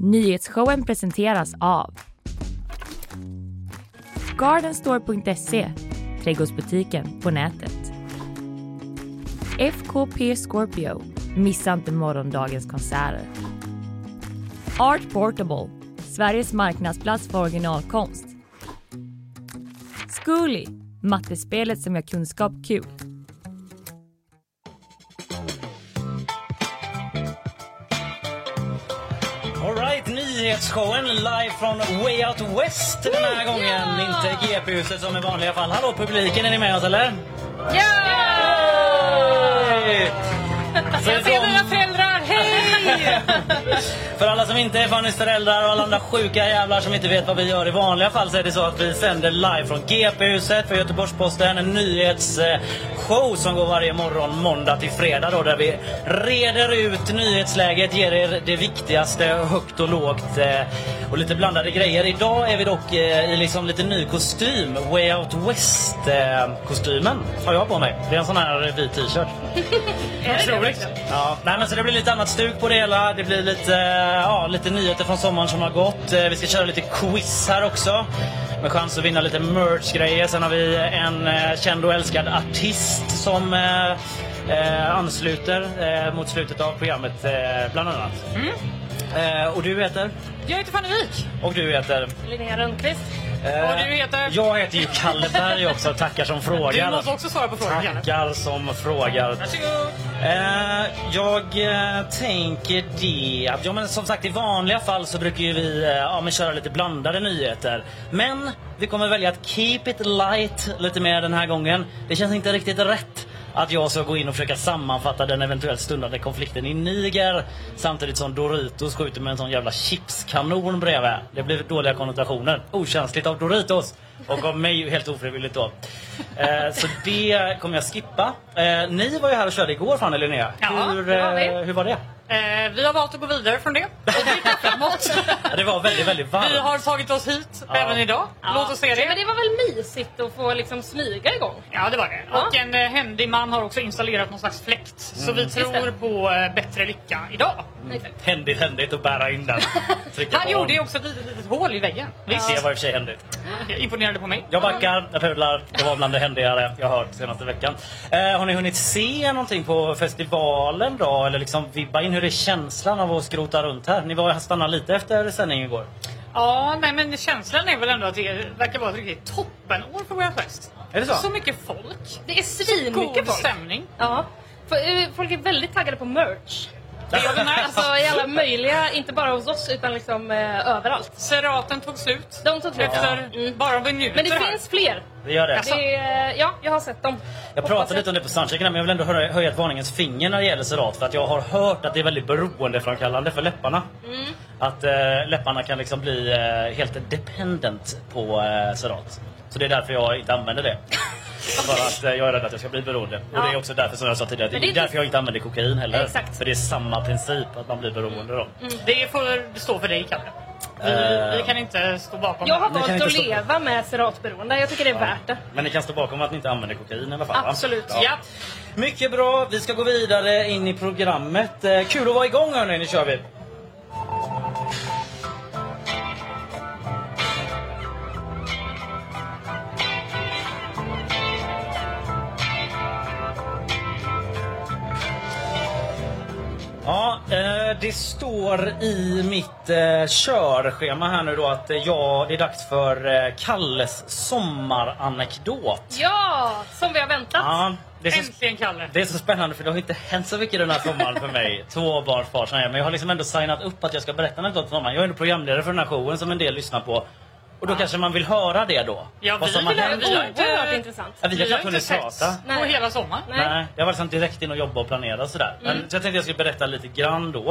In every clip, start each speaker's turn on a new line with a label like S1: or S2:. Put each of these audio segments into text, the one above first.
S1: Nyhetsshowen presenteras av Gardenstore.se, trädgårdsbutiken på nätet. FKP Scorpio, missa inte morgondagens konserter. Art Portable, Sveriges marknadsplats för originalkonst. Zcooly, mattespelet som gör kunskap kul.
S2: Alright, nyhetsshowen live från Way Out West den här gången. Inte GP-huset som i vanliga fall. Hallå publiken, är ni med oss eller? Hej! För,
S3: Jag ser mina
S2: de,
S3: föräldrar, hej!
S2: för alla som inte är Fannys föräldrar och alla andra sjuka jävlar som inte vet vad vi gör i vanliga fall så är det så att vi sänder live från GP-huset för Göteborgs-Posten. En nyhetsshow som går varje morgon måndag till fredag då där vi reder ut nyhetsläget, ger er det viktigaste högt och lågt eh, och lite blandade grejer. Idag är vi dock eh, i liksom lite ny kostym. Way Out West-kostymen har jag på mig. Det är en sån här vit t-shirt. Ja, nej, men så det blir lite annat stuk på det hela. Det blir lite, eh, ja, lite nyheter från sommaren som har gått. Eh, Vi ska köra lite quiz här också. Med chans att vinna lite merch-grejer. Sen har vi en eh, känd och älskad artist som eh, eh, ansluter eh, mot slutet av programmet eh, bland annat.
S3: Mm.
S2: Eh, och du heter?
S3: Jag heter Fanny Wijk.
S2: Och du heter?
S3: Linnea Rönnqvist.
S2: Eh,
S3: Och du heter?
S2: Jag heter ju Kalle Berg också. Tackar som frågar.
S3: Du måste också svara på frågan. Janne.
S2: Tackar som frågar.
S3: Varsågod.
S2: Eh, jag eh, tänker det att, ja, men som sagt i vanliga fall så brukar ju vi eh, ja, men köra lite blandade nyheter. Men vi kommer välja att keep it light lite mer den här gången. Det känns inte riktigt rätt att jag ska gå in och försöka sammanfatta den eventuellt stundande konflikten i Niger samtidigt som Doritos skjuter med en sån jävla chipskanon bredvid. Det blir dåliga konnotationer. Okänsligt av Doritos och av mig helt ofrivilligt då. Eh, så det kommer jag skippa. Eh, ni var ju här och körde igår Fanny Linnea.
S3: Ja,
S2: hur,
S3: det var
S2: eh,
S3: vi.
S2: hur var det?
S3: Eh, vi har valt att gå vidare från det. Och blicka framåt.
S2: Ja, det var väldigt, väldigt varmt.
S3: Vi har tagit oss hit
S2: Ja.
S3: även idag. Låt oss se
S4: Men
S3: det.
S4: det var väl mysigt att få liksom smyga igång?
S3: Ja, det var det.
S4: Ja.
S3: Och en eh, händig man har också installerat någon slags fläkt. Så vi tror
S4: det.
S3: på eh, bättre lycka idag.
S4: Exakt.
S2: Händigt, händigt att bära in den. Trycka
S3: Han
S2: på
S3: gjorde ju
S2: om.
S3: också ett litet, litet hål i väggen.
S2: Visst, det var i och för sig händigt.
S3: Imponerade på mig.
S2: Jag backar, jag pudlar. Det var bland det händigare jag hört senaste veckan. Eh, har ni hunnit se någonting på festivalen då? Eller liksom vibba in hur är känslan av att skrota runt här? Ni var stannade lite efter sändningen igår.
S3: Ja, nej, men känslan är väl ändå att det verkar vara ett riktigt toppenår för våra fest.
S2: Är det så?
S3: Så mycket folk.
S4: Det är svinmycket
S3: God
S4: folk.
S3: stämning.
S4: Ja. För, eh, Folk är väldigt taggade på merch.
S3: Det gör vi med.
S4: Alltså i alla möjliga, inte bara hos oss utan liksom eh, överallt.
S3: Seraten tog slut.
S4: De tog slut.
S3: Efter
S4: Mm.
S3: bara minuter
S4: Men det
S3: här.
S4: finns fler.
S2: Det gör det.
S3: Jaså?
S4: Det, är, eh, ja, jag har sett dem.
S2: Jag
S4: Hoppas
S2: pratade lite om det på soundchecken men jag vill ändå höra- höja ett varningens finger när det gäller Serat för att jag har hört att det är väldigt beroendeframkallande för läpparna.
S4: Mm.
S2: Att eh, läpparna kan liksom bli eh, helt dependent på eh, Serat. Så det är därför jag inte använder det. För att eh, jag är rädd att jag ska bli beroende. Och det är
S4: Ja.
S2: också därför som jag sa tidigare, det är,
S4: Men det är inte-
S2: därför jag inte använder kokain heller.
S4: Exakt.
S2: För det är samma princip att man blir beroende då.
S4: Mm.
S3: Det får stå för dig, Kalle. Vi,
S2: Eh.
S3: vi kan inte stå bakom
S4: Jag har
S2: Ni kan
S4: valt
S2: inte
S4: att
S2: stå-
S4: leva med seratberoende. Jag tycker det är värt det.
S2: Men ni kan stå bakom att ni inte använder kokain i alla fall va?
S4: Absolut,
S3: ja.
S2: Mycket bra, vi ska gå vidare in i programmet. Eh, Kul att vara igång hörni, nu kör vi! Ja, eh, det står i mitt eh, körschema här nu då att eh, jag, det är dags för eh, Kalles sommaranekdot.
S4: Ja, som vi har väntat.
S2: Ja, det är så
S3: Äntligen, Kalle.
S2: det är så spännande för det har inte hänt så mycket den här sommaren för mig. Tvåbarnsfar som jag är. Men jag har liksom ändå signat upp att jag ska berätta något om sommaren. Jag är ändå programledare för den här showen som en del lyssnar på. Och då kanske man vill höra det då.
S3: Ja, vi
S2: som har
S3: vill
S4: Det
S3: höra-
S4: är
S2: hänt.
S3: vi har inte-
S4: oerhört intressant.
S2: Ja, vi har
S3: Vi
S2: knappt
S3: har inte
S2: hunnit
S3: setts
S2: prata.
S3: på
S4: Nej.
S3: hela sommaren.
S4: Nej.
S2: Nej, jag var liksom direkt in och jobba och planera sådär. Men,
S3: Mm.
S2: Så jag tänkte jag skulle berätta lite grann då.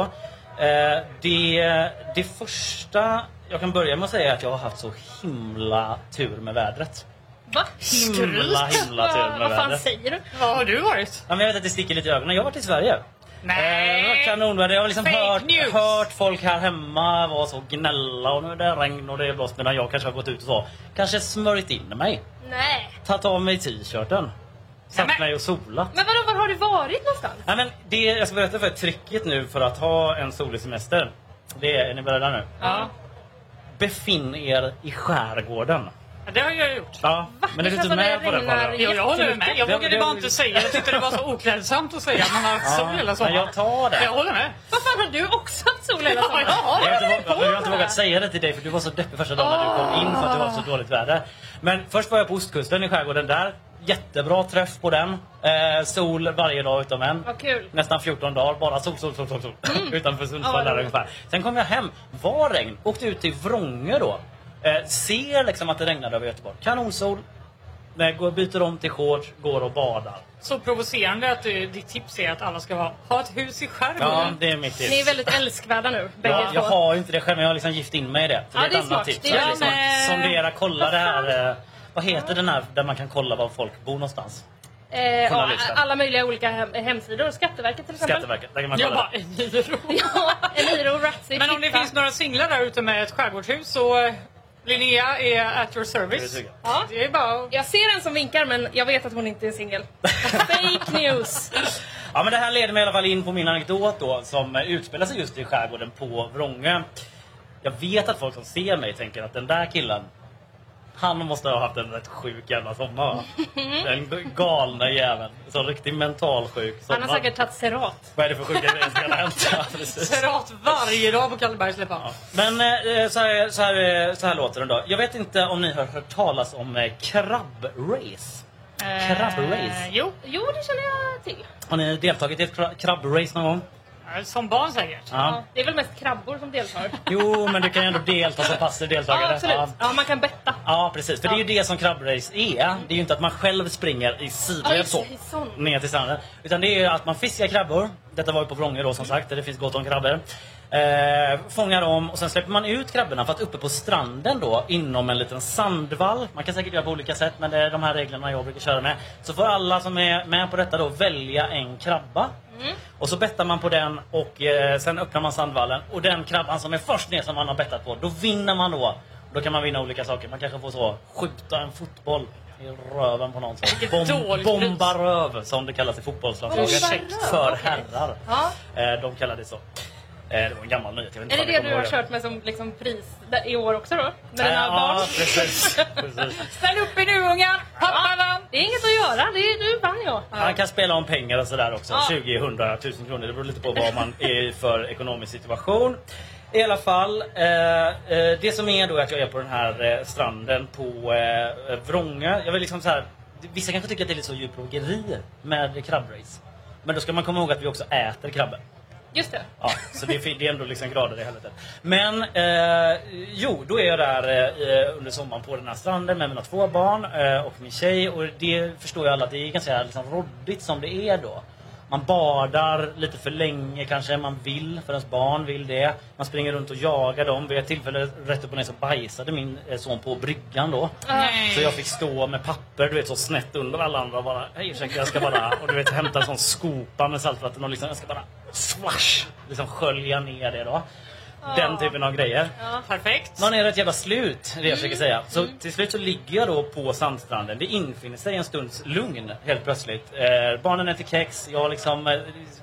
S2: Eh, det, det första jag kan börja med att säga är att jag har haft så himla tur med vädret.
S4: Va?
S2: Himla, himla tur med
S4: Vad fan
S2: vädret.
S4: säger du?
S3: Var har du varit?
S2: Ja, men jag vet att det sticker lite i ögonen. Jag har varit i Sverige. Eh, det var kanonväder. Jag har liksom
S3: Fake
S2: hört,
S3: news.
S2: hört folk här hemma vara så gnälla och nu är det regn och det är blåst medan jag kanske har gått ut och så. Kanske smörjt in mig.
S4: Nej.
S2: Tagit av mig t-shirten. Satt
S3: Nämen.
S2: mig och solat.
S4: Men vadå, var har du varit någonstans?
S2: Nej, men det jag ska berätta för er tricket nu för att ha en solig semester Det är, är ni beredda nu?
S3: Ja.
S2: Befinn er i skärgården.
S3: Ja, Det har jag gjort.
S2: Ja, men är
S4: Det
S2: du
S4: känns
S2: inte med
S4: som
S2: på
S4: det
S2: den
S4: regnar
S2: Paula?
S3: Jag, jag håller med. Jag
S2: Det-
S3: vågade
S2: det-
S3: bara inte säga. Jag tyckte det var så oklädsamt att säga. Man har haft sol hela
S2: men jag
S3: sommaren.
S2: tar
S3: Jag
S2: det.
S3: håller med.
S4: Vad fan har du också haft sol hela sommaren?
S3: Ja,
S2: Jag har, inte vågat, jag har inte vågat säga det till dig för du var så deppig första dagen när du kom in för att det var så dåligt väder. Men först var jag på ostkusten i skärgården där. Jättebra träff på den. Eh, sol varje dag utom en.
S4: Vad kul. Mm.
S2: Nästan 14 dagar, bara sol, sol, sol, sol, sol. utanför
S4: Ja,
S2: Sundsvall
S4: vad
S2: där
S4: roligt.
S2: ungefär. Sen kom jag hem, var regn, åkte ut till Vrångö då. Eh, ser liksom att det regnade över Göteborg. Kanonsol. Nej, går, byter om till shorts, går och badar.
S3: Så provocerande att du, ditt tips är att alla ska ha, ha ett hus i
S2: Ja,
S3: skärgården.
S2: det är mitt tips.
S4: Ni är väldigt älskvärda nu, bägge
S2: Ja, jag
S4: två.
S2: har ju inte det själv, men jag har liksom gift in mig i det. Så
S4: Ja,
S2: det
S4: det
S2: är
S4: är
S2: ett annat
S4: smart.
S2: tips.
S4: Det är
S2: Jag har
S4: väldigt
S2: liksom
S4: smart.
S2: Sondera, kolla det här... eh, Vad heter den här där man kan kolla var folk bor någonstans?
S4: Eh, och
S2: Journalisten.
S4: alla möjliga olika hem hemsidor. Skatteverket till exempel.
S2: Skatteverket. Där kan man
S3: Jag bara,
S2: kolla.
S3: en gyro.
S4: Ja, Eniro, Ratsy,
S3: Men om det
S4: Fitta.
S3: finns några singlar där ute med ett skärgårdshus så eh, Linnea är at
S2: Det
S3: your service.
S2: tycker jag.
S3: Ja, det är bara att-
S4: Jag ser en som vinkar men jag vet att hon inte är singel. Fake news!
S2: Ja, men det här leder mig i alla fall in på min anekdot då, som eh, utspelar sig just i skärgården på Vrångö. Jag vet att folk som ser mig tänker att den där killen han måste ha haft en rätt sjuk jävla sommar. va? Den galna jäveln. Så riktig mentalsjuk sommar.
S4: Han har säkert tagit Serat.
S2: Vad är det för sjuka grejer som kan ha hänt? Ja, precis.
S3: Serat varje dag på Kallebergs läppar.
S2: Men eh, så här, så, här, eh, så här låter den då. Jag vet inte om ni har hört talas om eh, krabbrace. Krabbrace.
S3: Eh, jo,
S4: Jo, det känner jag till.
S2: Har ni deltagit i ett kra- krabbrace någon gång?
S3: Eh, som barn säkert.
S2: Ja.
S4: Det är väl mest krabbor som deltar.
S2: Jo, men du kan ju ändå delta som passiv deltagare.
S4: Ja, absolut.
S2: Ja.
S4: Ja, man kan betta.
S2: Ja, precis. För det är ju det som krabbrace är. Det är ju inte att man själv springer i
S4: Ja,
S2: sidled
S4: just
S2: så,
S4: det, i sån.
S2: ner till stranden. Utan det är ju att man fiskar krabbor. Detta var ju på Vrångö då som sagt, där det finns gott om krabbor. Eh, fångar dem och sen släpper man ut krabborna för att uppe på stranden då inom en liten sandvall. Man kan säkert göra på olika sätt men det är de här reglerna jag brukar köra med. Så får alla som är med på detta då välja en krabba. Och så bettar man på den och eh, sen öppnar man sandvallen och den krabban som är först ner som man har bettat på, då vinner man då. Då kan man vinna olika saker. Man kanske får så skjuta en fotboll i röven på någon. som
S3: dåligt
S2: bomba röv som det kallas i fotbollslandslaget.
S4: Bomba röv,
S2: För
S4: okej.
S2: herrar.
S4: Ja.
S2: Eh, de kallar det så. Eh, det var en gammal nyhet. Jag vet inte
S4: Är det
S2: om ni
S4: det
S2: kommer
S4: du har
S2: ihåg den.
S4: kört med som liksom pris där- i år också då? Med
S2: Eh,
S4: dina barn?
S2: Ja, precis. precis.
S4: Ställ upp er nu ungar! Pappa, det är inget att göra. Det är, nu vann jag.
S2: Man kan spela om pengar och sådär också.
S4: Ja.
S2: 20, 100, 1000 kronor. Det beror lite på vad man är i för ekonomisk situation. I alla fall, eh, eh, det som är då är att jag är på den här eh, stranden på eh, Vrångö. Jag vill liksom så här, vissa kanske tycker att det är lite så djurplågeri med krabbrace. Men då ska man komma ihåg att vi också äter krabbor.
S4: Just det.
S2: Ja, så det är, det är ändå liksom grader i helvetet. Men eh, jo, då är jag där eh, under sommaren på den här stranden med mina två barn eh, och min tjej. Och det förstår ju alla att det är ganska liksom, råddigt som det är då. Man badar lite för länge kanske, man vill, för ens barn vill det. Man springer runt och jagar dem. Vid ett tillfälle rätt upp och ner så bajsade min eh, son på bryggan då.
S3: Nej.
S2: Så jag fick stå med papper du vet så snett under alla andra och bara hej ursäkta jag ska bara och du vet hämta en sån skopa med saltvatten och liksom jag ska bara swash liksom skölja ner det då. Den typen av grejer.
S3: Perfekt.
S2: Man är rätt jävla slut, är det jag försöker säga. Så till slut så ligger jag då på sandstranden. Det infinner sig en stunds lugn helt plötsligt. Eh, barnen äter kex, jag har liksom eh,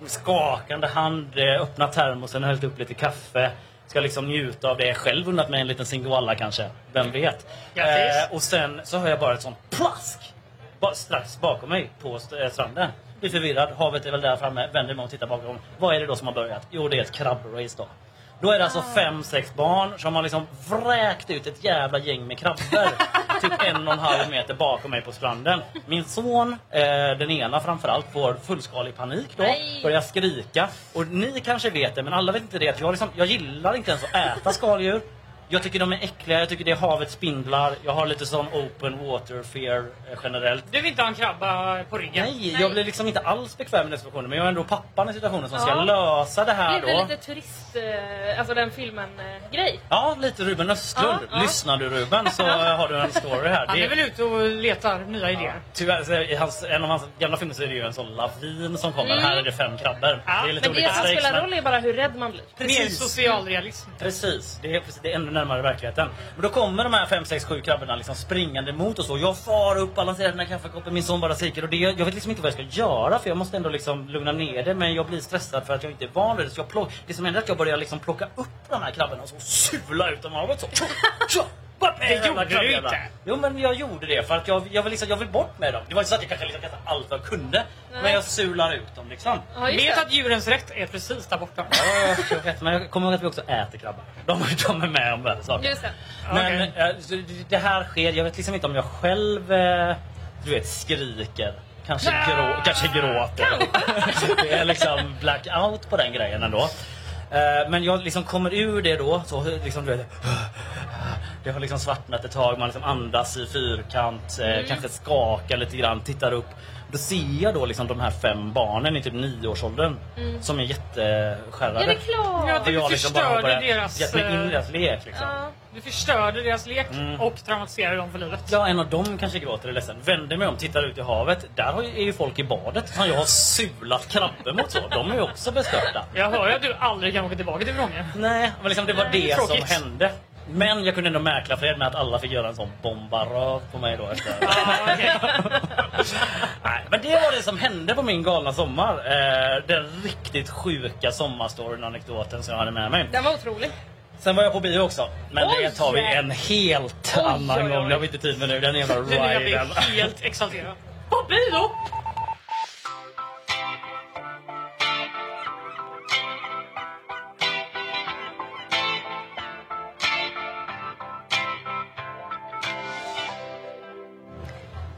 S2: skakande hand, eh, öppnat termosen, hällt upp lite kaffe. Ska liksom njuta av det. Själv unnat mig en liten singoalla kanske. Vem vet? Eh,
S3: Grattis.
S2: och sen så hör jag bara ett sånt plask! Ba- strax bakom mig på st- eh, stranden. Blir förvirrad, havet är väl där framme, vänder mig och tittar bakom. Vad är det då som har börjat? Jo, det är ett krabbrace då. Då är det alltså fem, sex barn som har liksom vräkt ut ett jävla gäng med krabbor. typ en och en halv meter bakom mig på stranden. Min son, eh, den ena framförallt, får fullskalig panik då.
S4: Nej.
S2: Börjar skrika. Och ni kanske vet det, men alla vet inte det. Att jag, liksom, jag gillar inte ens att äta skaldjur. Jag tycker de är äckliga, jag tycker det är havets spindlar. Jag har lite sån open water fear eh, generellt.
S3: Du vill inte ha en krabba på ryggen?
S2: Nej, jag blir liksom inte alls bekväm i den situationen. Men jag är ändå pappan i situationen som ska
S4: Ja.
S2: lösa det här
S4: Blev
S2: då.
S4: det lite turist, eh, alltså den filmen-grej?
S2: Ja, lite Ruben Östlund.
S4: Ja, ja.
S2: Lyssnar du Ruben så eh, har du en story här.
S3: Han
S2: Det-
S3: är väl ute och letar nya idéer.
S2: Tyvärr, så i hans, en av hans gamla filmer så är det ju en sån lavin som kommer. Här är det fem krabbor.
S3: Ja,
S2: det är lite
S4: Mm. Men det
S2: olika
S4: som
S2: stakes.
S4: spelar
S2: men-
S4: roll är bara hur rädd man blir.
S3: Mer
S2: Precis.
S3: socialrealism.
S2: Precis, det är, precis, det är ännu närmare verkligheten. Men då kommer de här 5, 6, 7 krabborna liksom springande emot och så. Jag far upp, balanserar den här kaffekoppen, min son bara skriker. Och det, jag vet liksom inte vad jag ska göra för jag måste ändå liksom lugna ner det. Men jag blir stressad för att jag inte är van vid det. Så jag plock, det som händer är att jag börjar liksom plocka upp de här krabborna och så sula ut dem av havet. Så. Tjo, tjo, bap,
S3: Det
S2: jävla
S3: gjorde du
S2: krabbjävlar.
S3: inte.
S2: Jo men jag gjorde det för att jag, jag, vill, liksom, jag vill bort med dem. Det var inte så att jag kanske liksom kastade allt vad jag kunde.
S4: Nej.
S2: Men jag sular ut dem liksom.
S4: Ja, just
S3: Vet
S4: det.
S3: att djurens rätt är precis där borta.
S2: Ja, jag vet, men jag kommer ihåg att vi också äter krabbar. De, de är med om värre saker.
S4: Just det.
S2: Men
S3: Okej.
S2: eh, så det- det här sker, jag vet liksom inte om jag själv eh, du vet, skriker. Kanske, grå, kanske gråter. det är liksom blackout på den grejen ändå. Eh, Men jag liksom kommer ur det då. Så liksom, du vet, det har liksom svartnat ett tag. Man liksom andas i fyrkant, eh, kanske skakar lite grann, tittar upp. Då ser jag då liksom de här fem barnen i typ nioårsåldern som är jätteskärrade.
S4: Ja, det är klart.
S3: Ja,
S2: Och jag
S3: det
S2: liksom bara har
S3: förstörde
S2: börjat
S3: deras,
S2: gett mig in i
S3: eh,
S2: deras lek liksom.
S4: Ja.
S3: Du förstörde deras lek
S2: Mm.
S3: och traumatiserade dem för livet.
S2: Ja, en av dem kanske gråter eller ledsen. Vänder mig om, tittar ut i havet. Där har ju- är ju folk i badet som jag har sulat krabbor mot. Så. De är ju också bestörta.
S3: Jag hör ju att du aldrig kan åka tillbaka till Vrånge.
S2: Nej, men liksom det var
S3: det
S2: det
S3: är
S2: som
S3: tråkigt.
S2: hände. Men jag kunde ändå mäkla fred med att alla fick göra en sån bombaröv på mig då efter.
S3: Ja, okej.
S2: Nej, men det var det som hände på min galna sommar. Eh, den riktigt sjuka sommarstoryn och anekdoten som jag hade med mig.
S4: Den var otrolig.
S2: Sen var jag på bio också. Men det
S4: Oj!
S2: tar vi en helt
S4: Oj,
S2: annan
S4: oj, oj.
S2: gång. Det har vi inte tid med nu. Den jävla
S3: Nu när jag
S2: riden.
S3: blir helt exalterad. På bio!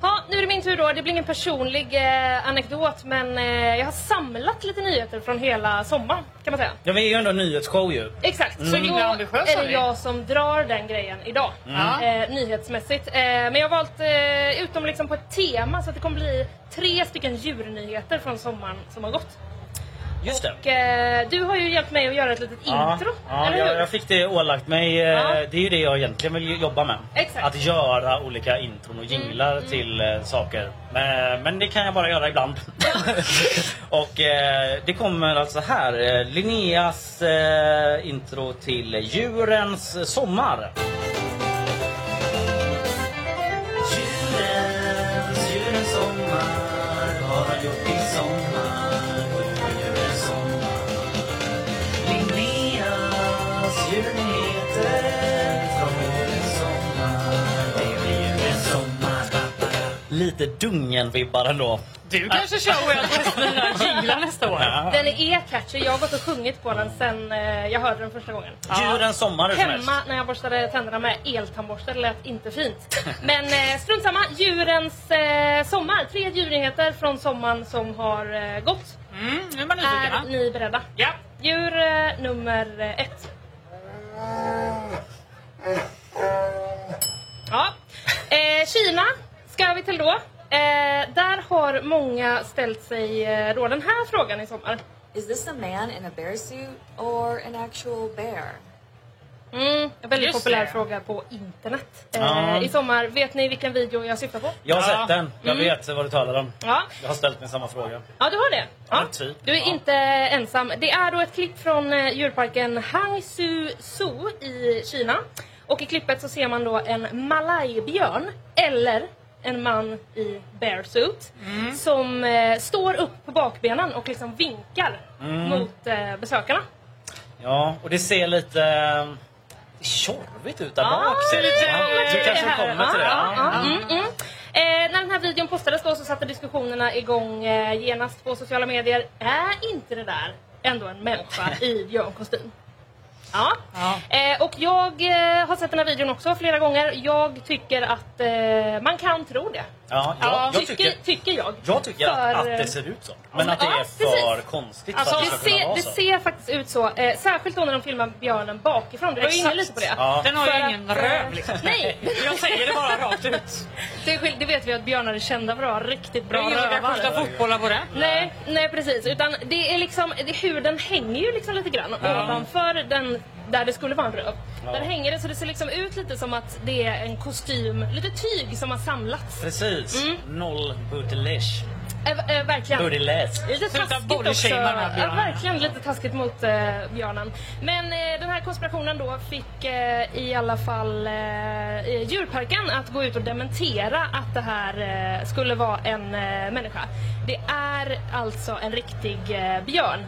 S4: Ja, nu är det min tur då. Det blir ingen personlig eh, anekdot men eh, jag har samlat lite nyheter från hela sommaren kan man säga.
S2: Ja, vi är ju ändå en nyhetsshow ju.
S4: Exakt,
S3: Så
S4: då
S3: himla ambitiös av
S4: är Mm, det
S3: dig.
S4: jag som drar den grejen idag.
S3: Ja.
S4: Eh, nyhetsmässigt. Eh, men jag har valt eh, ut dem liksom på ett tema så att det kommer bli tre stycken djurnyheter från sommaren som har gått.
S2: Just det.
S4: Och, eh, du har ju hjälpt mig att göra ett litet intro,
S2: Ja,
S4: eller
S2: ja,
S4: hur?
S2: jag, jag fick det ålagt mig. eh,
S4: Ja.
S2: Det är ju det jag egentligen vill jobba med.
S4: Exakt. Mm,
S2: Att göra olika intron och jinglar till eh, saker. Men, men det kan jag bara göra ibland. och eh, det kommer alltså här. eh, Linneas eh, intro till Djurens sommar. Djurens, djurens sommar har han gjort i sommar. Djurens sommar. Linneas djurnyheter från djurens sommar. Det är djurens sommar. Lite dungen-vibbar ändå.
S3: Du kanske kör Wells nya jinglar nästa år.
S4: Den är catchy, jag har gått och sjungit på den sen eh, jag hörde den första gången.
S2: Djurens sommar hur som helst.
S4: Hemma när jag borstade tänderna med eltandborste, det lät inte fint. Men eh, strunt samma, djurens eh, sommar. Tre djurnyheter från sommaren som har eh, gått.
S3: Mm, nu är man nyfiken. va?
S4: Är ni beredda?
S3: Ja.
S4: Djur eh, nummer eh, ett. Ja. Eh, Kina ska vi till då. Eh, där har många ställt sig eh, då den här frågan i sommar.
S5: Is this a man in a bear suit or an actual bear?
S4: Mm, en väldigt
S3: Just
S4: populär
S3: det.
S4: fråga på internet
S2: Ja.
S4: eh, i sommar. Vet ni vilken video jag syftar på?
S2: Jag har
S3: Ja.
S2: sett
S3: Mm.
S2: den. Jag vet vad du talar om.
S4: Ja,
S2: Jag har ställt mig samma fråga.
S4: ja du har det.
S2: Ja,
S4: Ja.
S2: typ.
S4: Du är
S2: Ja.
S4: inte ensam. Det är då ett klipp från eh, djurparken Hangzhou Zoo i Kina. Och i klippet så ser man då en malajbjörn eller en man i bearsuit
S2: Mm.
S4: som eh, står upp på bakbenen och liksom vinkar
S2: Mm.
S4: mot eh, besökarna.
S2: Ja, och det ser lite eh, tjorvigt ut där
S4: Ja,
S2: bak. ser det
S4: vi
S2: ut.
S4: kommer
S2: Ja,
S4: till
S2: Du
S4: det
S2: kanske
S4: här.
S2: kommer till det.
S4: Ja,
S2: Ja.
S4: ja, mm, mm. Eh, när den här videon postades då så satte diskussionerna igång eh, genast på sociala medier. Är inte det där ändå en människa i björnkostym? Ja.
S3: Ja.
S4: Eh, och jag eh, har sett den här videon också flera gånger. Jag tycker att eh, man kan tro det.
S2: Ja, jag, jag tycker...
S4: tycker jag.
S2: Jag tycker
S4: För,
S2: att, att det
S4: eh,
S2: ser ut så. Men
S4: ja,
S2: att det är för
S4: precis.
S2: konstigt
S3: Alltså,
S2: för att det
S4: Det
S2: ska kunna
S4: ser,
S2: vara
S4: det
S2: så.
S4: ser faktiskt ut så. Eh, särskilt då när de filmar björnen bakifrån. Du var ju inne
S3: Exakt.
S4: lite på det.
S2: Ja.
S3: Den har
S4: För
S3: ju
S4: att,
S3: ingen
S4: eh,
S3: röv liksom.
S4: Nej,
S3: Jag säger det bara rakt ut.
S4: Det, är skill- det vet vi att björnar är kända för att ha riktigt
S3: Det är
S4: bra
S3: ingen som kan skjuta
S4: rövar.
S3: fotbollar på det.
S4: Nej, nej precis. Utan det är liksom, det, huden hänger ju liksom lite grann ovanför den där det skulle vara en röv.
S2: Ja.
S4: Där hänger det så det ser liksom ut lite som att det är en kostym, lite tyg som har samlats.
S2: Precis. Noll bootelish.
S4: Eh, eh, verkligen.
S2: Booty less.
S4: Lite
S3: Sluta
S4: taskigt
S3: body-shamea
S4: också.
S3: den här
S4: Ja,
S3: björnen.
S4: verkligen lite taskigt mot eh, björnen. Men eh, den här konspirationen då fick eh, i alla fall eh, eh, djurparken att gå ut och dementera att det här eh, skulle vara en eh, människa. Det är alltså en riktig eh, björn,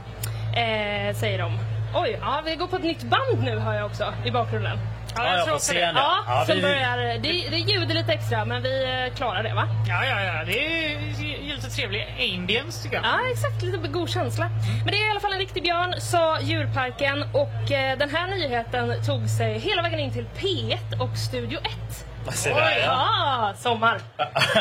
S4: eh, säger de. Oj, ja, vi går på ett nytt band nu har jag också i bakgrunden.
S3: Ja,
S2: Ja,
S3: jag
S2: jag
S3: tror
S2: får
S3: på
S2: se
S3: det.
S2: henne.
S4: Ja,
S2: Ja,
S4: som
S2: vi-
S4: börjar, det, det ljuder lite extra men vi eh, klarar det va?
S3: Ja, ja, ja. Det är ju lite trevlig ambience tycker jag.
S4: Ja, exakt. Lite god känsla. Men det är i alla fall en riktig björn, sa djurparken. Och eh, den här nyheten tog sig hela vägen in till P1 och Studio 1.
S2: Se där, ja.
S4: ja, sommar.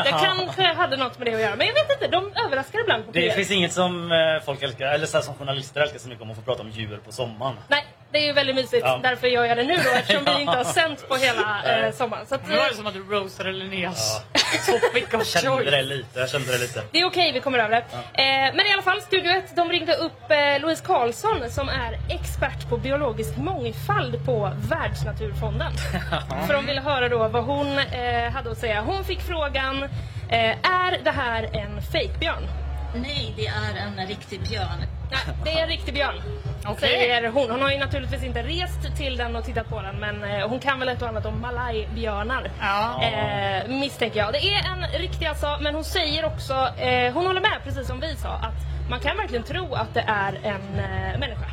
S4: Det kanske hade något med det att göra, men jag vet inte. De överraskar ibland på
S2: Det
S4: P1.
S2: finns inget som eh, folk älskar, eller så här, som journalister älskar så mycket om att få prata om djur på sommaren.
S4: Nej, det är ju väldigt mysigt.
S2: Ja.
S4: Därför gör jag det nu då, eftersom vi inte har sänt på hela eh, sommaren. Så att,
S3: Nu
S4: eh,
S3: var det som att du roastade Linneas
S2: Ja.
S3: topic of
S2: Jag kände det
S3: choice.
S2: lite, jag kände det lite.
S4: Det är okej, vi kommer över det. Eh, men i alla fall, Studio 1, de ringde upp eh, Louise Karlsson som är expert på biologisk mångfald på Världsnaturfonden. För de ville höra då vad hon eh, hade att säga. Hon fick frågan, eh, är det här en fejkbjörn?
S6: Nej, det är en riktig björn.
S4: Nej, det är en riktig björn.
S3: Okej.
S4: Säger hon. Hon har ju naturligtvis inte rest till den och tittat på den men eh, hon kan väl ett och annat om malajbjörnar.
S3: Ja.
S4: Eh, misstänker jag. Det är en riktig alltså, men hon säger också, eh, hon håller med precis som vi sa, att man kan verkligen tro att det är en eh, människa.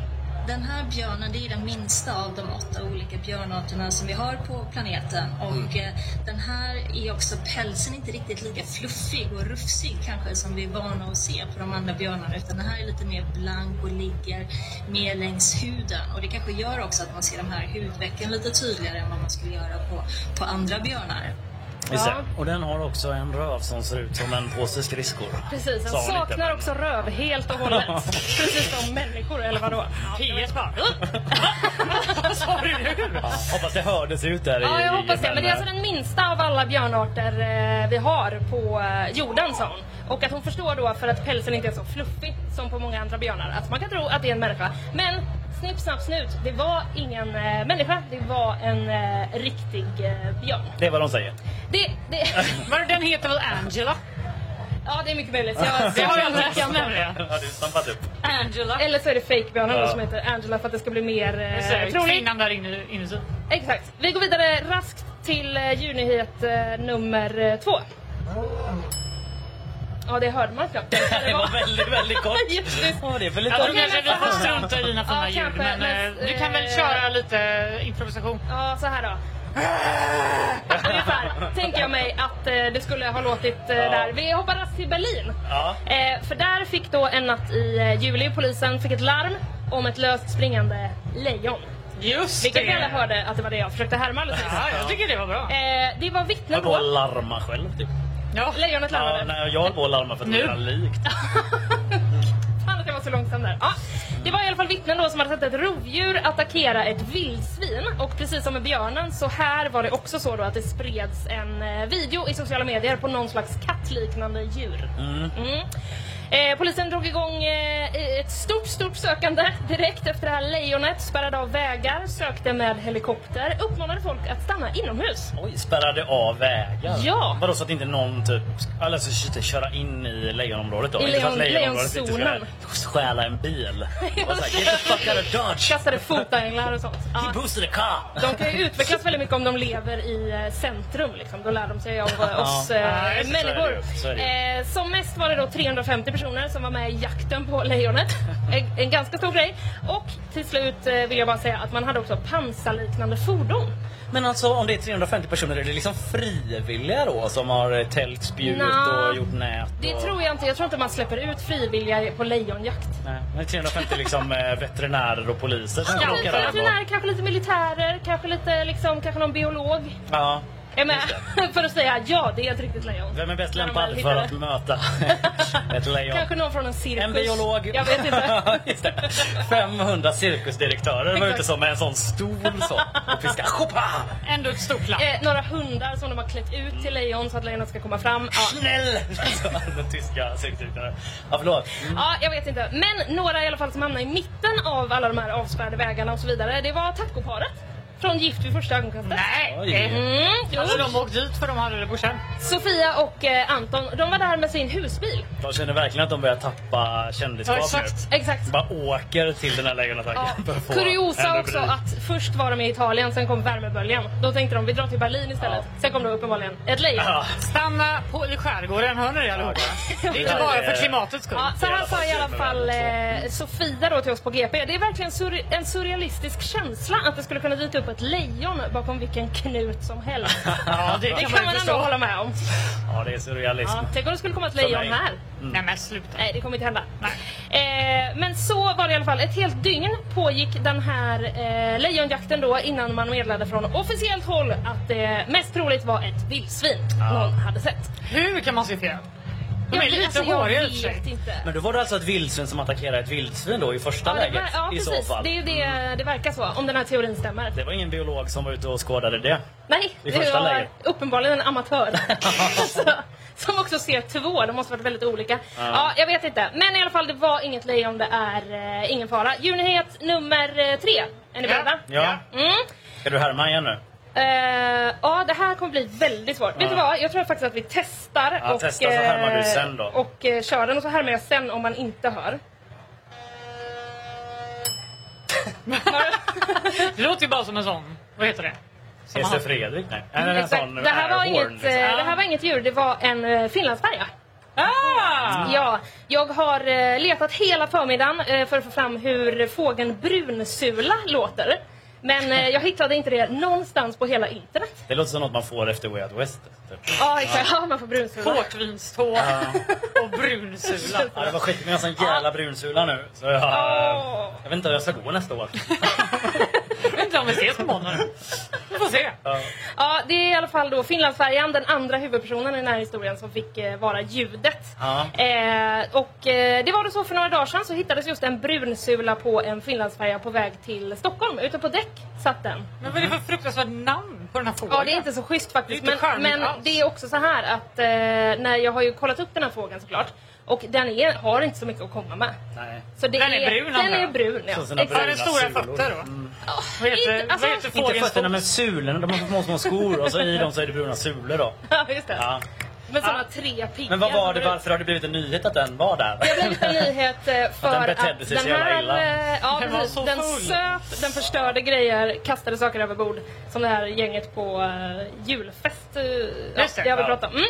S6: Den här björnen det är den minsta av de åtta olika björnarterna som vi har på planeten. Och eh, den här är också pälsen inte riktigt lika fluffig och rufsig kanske som vi är vana att se på de andra björnarna. Utan den här är lite mer blank och ligger mer längs huden. Och det kanske gör också att man ser de här hudvecken lite tydligare än vad man skulle göra på, på andra björnar.
S2: Just det.
S4: Ja.
S2: Och den har också en röv som ser ut som en påse skridskor.
S4: Precis, den
S2: Sa hon inte,
S4: saknar
S2: men-
S4: också röv helt och hållet. precis som människor, eller vadå?
S3: P1 bara... Vad sa du nu?
S2: Ja, hoppas det hördes ut där
S4: Ja,
S2: i
S4: jag hoppas det. Men det är
S2: eh,
S4: alltså den minsta av alla björnarter eh, vi har på eh, jorden, sa hon. Och att hon förstår då, för att pälsen inte är så fluffig som på många andra björnar, att man kan tro att det är en människa. Men snipp, snapp, snut, det var ingen eh, människa, det var en eh, riktig eh, björn.
S2: det är vad de säger.
S4: Det, det,
S3: Men den heter väl Angela?
S4: ja, det är mycket möjligt. Jag,
S3: Det har jag läst Eh, nämligen.
S2: Ja, du stampat upp.
S3: Angela.
S4: eller så är det fejkbjörnar
S2: Ja.
S4: som heter Angela för att det ska bli mer eh,
S3: Precis,
S4: troligt.
S3: Kvinnan där inne, inuti.
S4: Exakt. Vi går vidare raskt till eh, djurnyhet eh, nummer eh, två. Ja, det hörde man knappt.
S2: Det var väldigt, väldigt kort.
S4: Just det.
S2: Åh, det är för lite
S3: Jag tror
S4: Okej,
S3: kanske vi
S4: men
S3: får
S4: fan.
S3: strunta i dina fina
S4: Ja,
S3: ljud.
S4: kanske,
S3: Men
S4: men,
S3: eh, du kan väl
S4: eh,
S3: köra lite improvisation?
S4: Ja, så här då. Ungefär tänker jag mig att eh, det skulle ha låtit eh,
S2: Ja.
S4: där. Vi hoppar raskt till Berlin.
S2: Ja.
S4: Eh, för där fick då en natt i eh, juli polisen fick ett larm om ett löst springande lejon.
S3: Just
S4: Vilket vi alla
S3: det!
S4: hörde att det var det jag försökte härma alldeles nyss.
S3: Ja, jag tycker det var bra.
S4: Eh, det var vittnen
S2: Jag går och
S4: då.
S2: larma själv typ.
S3: Ja.
S4: Lejonet larmade.
S2: Ja, nej, jag håller på att larma för att det
S3: Nu.
S2: är likt.
S4: Fan att jag var så långsam där. Ja. Det var i alla fall vittnen då som hade sett ett rovdjur attackera ett vildsvin. Och precis som med björnen så här var det också så då att det spreds en eh, video i sociala medier på någon slags kattliknande djur. Mm. Eh, polisen drog igång eh, ett stort, stort sökande direkt efter det här lejonet. Spärrade av vägar, sökte med helikopter, uppmanade folk att stanna inomhus.
S2: Oj, spärrade av vägar.
S4: Ja.
S2: Vadå så att inte någon typ, eller så shit, köra in i lejonområdet då?
S4: I
S2: Inte så att
S4: lejon-
S2: lejonområdet inte
S4: lejonzonen.
S2: ska stjäla en bil. Och så här, get the fuck out of dodge!
S4: Kastade fotänglar och sånt. Ja.
S2: He boosted a car!
S4: De kan ju utvecklas väldigt mycket om de lever i eh, centrum. Liksom. Då lär de sig av eh, oss eh,
S2: Ja, just det, så är det
S4: människor.
S2: ju. Så är det
S4: Eh, som mest var det då 350 personer som var med i jakten på lejonet. en, en ganska stor grej. Och till slut eh, vill jag bara säga att man hade också pansarliknande fordon.
S2: Men alltså om det är 350 personer, är det liksom frivilliga då som har eh, tält, spjut
S4: Nja,
S2: och gjort nät?
S4: Det
S2: och...
S4: tror jag inte. Jag tror inte man släpper ut frivilliga på lejonjakt.
S2: Nej, men 350 liksom eh, veterinärer och poliser som
S4: Ja,
S2: åker där.
S4: veterinärer,
S2: och-
S4: kanske lite militärer, kanske lite liksom, kanske någon biolog
S2: Ja.
S4: är med för att säga ja, det är ett riktigt lejon.
S2: Vem är bäst
S4: När de väl
S2: lämpad
S4: hittar
S2: för
S4: det.
S2: att möta ett lejon?
S4: Kanske någon från en cirkus.
S2: En biolog.
S4: Jag vet inte.
S2: Just det. 500 cirkusdirektörer var ute som med en sån stor så och fiskade. Hoppa!
S3: Ändå ett stort lapp.
S4: Eh, några hundar som de har klätt ut till lejon så att lejonet ska komma fram. Ja.
S2: Snäll! Så Den tyska cirkusdirektören. Ja, förlåt.
S4: ja, jag vet inte. Men några i alla fall som hamnade i mitten av alla de här avspärrade vägarna och så vidare, det var tacoparet. Från Gift vid första ögonkastet.
S3: Nej!
S2: Oj.
S3: det-
S4: Mm, jo.
S3: Alltså de åkte dit för de hade det på känn.
S4: Sofia och eh, Anton, de var där med sin husbil.
S2: De känner verkligen att de börjar tappa kändisskap
S3: Ja, exakt.
S2: nu.
S4: Exakt.
S2: Bara åker till den här lägenhetsattacken. för att få en
S4: Kuriosa
S2: rubrik.
S4: också att först var de i Italien, sen kom värmeböljan. Då tänkte de vi drar till Berlin istället. Sen kom det uppenbarligen ett lejon.
S2: Ja.
S3: Stanna på, i skärgården, hör ni det allihopa? Det är inte
S2: Ja,
S3: bara
S2: det är-
S3: för klimatets skull.
S4: Ja, så
S2: Det är
S4: här sa i alla fall
S2: supervärlden,
S4: eh, Sofia då till oss på GP. Det är verkligen sur- en surrealistisk känsla att det skulle kunna dyka upp ett lejon bakom vilken knut som helst.
S3: Ja, det
S4: Det
S3: kan
S4: kan
S3: man ju
S4: man ändå
S3: förstå.
S4: hålla med om.
S2: Ja, det är surrealism.
S4: Ja, tänk om det skulle komma ett
S2: För
S4: lejon
S2: mig.
S4: här.
S3: Nej men sluta.
S4: Nej, det kommer inte hända. Eh, men så var det i alla fall. Ett helt dygn pågick den här eh, lejonjakten då innan man meddelade från officiellt håll att det mest troligt var ett vildsvin någon hade sett.
S3: Hur kan man se fel? De är
S4: Jag-
S3: lite
S4: alltså,
S3: håriga i
S4: jag
S3: och för sig.
S4: vet inte.
S2: Men då var det alltså ett vildsvin som attackerade ett vildsvin då i första
S4: Ja, det,
S2: läget
S4: ver- ja,
S2: i
S4: precis.
S2: så fall. Mm.
S4: Det är ju det det verkar så, om den här teorin stämmer.
S2: Det var ingen biolog som var ute och skådade det.
S4: Nej,
S2: I
S4: det
S2: första
S4: var
S2: läget.
S4: uppenbarligen en amatör. Så- Som också ser två, de måste varit väldigt olika. Ja. jag vet inte. Men i alla fall, det var inget lejon, det är eh, ingen fara. Djurnyhet nummer eh, tre. Är
S3: Ja.
S4: ni beredda?
S2: Ja.
S4: Mm.
S2: Ska du härma igen nu?
S4: Eh, ja, det här kommer bli väldigt svårt. Vet du vad? Jag tror faktiskt att vi testar.
S2: Ja,
S4: och,
S2: testa, så härmar du
S4: eh,
S2: sen då.
S4: Och eh, kör den och så härmar jag sen om man inte hör.
S3: Det låter ju bara som en sån, vad heter det? Som
S2: Ester
S3: han-
S2: Fredrik? Nej. Eller en
S4: Exakt.
S2: sån
S4: det, här var
S2: airhorn,
S4: inget, eh,
S2: liksom.
S4: det här var inget djur, det var en eh, finlandsfärja.
S3: Ah!
S4: Ja, jag har eh, letat hela förmiddagen eh, för att få fram hur fågeln brunsula låter. Men eh, jag hittade inte det någonstans på hela internet.
S2: Det låter som något man får efter Way Out West. Typ.
S4: Ja, exakt. Ja, man får brunsula.
S3: Portvinstå och brunsula.
S2: Ja, det var skit med en sån jävla brunsula nu. Så jag, eh,
S4: Åh.
S2: jag vet inte hur jag ska gå nästa år.
S3: Jag vet inte om vi ses på måndag nu. Vi får se.
S2: Ja.
S4: Ja, det är i alla fall då Finlandsfärjan, den andra huvudpersonen i den här historien som fick eh, vara ljudet.
S2: Ja.
S4: Eh, och eh, det var då så för några dagar sedan så hittades just en brunsula på en Finlandsfärja på väg till Stockholm. Ute på däck satt den.
S3: Men vad är det för fruktansvärt namn på den här fågeln?
S4: Ja, det är inte så schysst
S3: Det är
S4: faktiskt. Men,
S3: inte charmigt
S4: men
S3: alls.
S4: det är också så här att eh, när jag har ju kollat upp den här frågan såklart och den är, har inte så mycket att komma med.
S2: Nej.
S4: Så det
S3: Den är brun,
S4: Den
S3: antar
S4: är
S3: jag.
S4: brun, ja.
S2: Så sina
S4: Exakt.
S3: Har den
S2: bruna
S3: stora
S2: sulor.
S3: fötter då? Vad heter,
S4: inte- alltså-
S3: vad heter
S2: Mm. Inte
S3: fågelns
S2: fötterna
S3: fot?
S2: men sulorna. De har så små, små skor och så i dem så är det bruna sulor då.
S4: Ja, just det.
S2: Ja.
S4: Med sådana tre piggar.
S2: Men vad var
S4: som
S2: det,
S4: brun-
S2: varför har det blivit en nyhet att den var där?
S4: Det blev lite nyhet eh, för
S2: den
S4: att
S2: betedde sig så
S4: den
S2: jävla
S4: här...
S2: illa.
S4: eh, Ja,
S3: Den var
S4: precis.
S3: så
S4: Den
S3: full.
S4: söp, den förstörde grejer, kastade saker över bord. Som det här gänget på eh, julfest. eh, ja,
S3: Just det,
S4: det har vi
S2: ja.
S4: pratat om. Mm.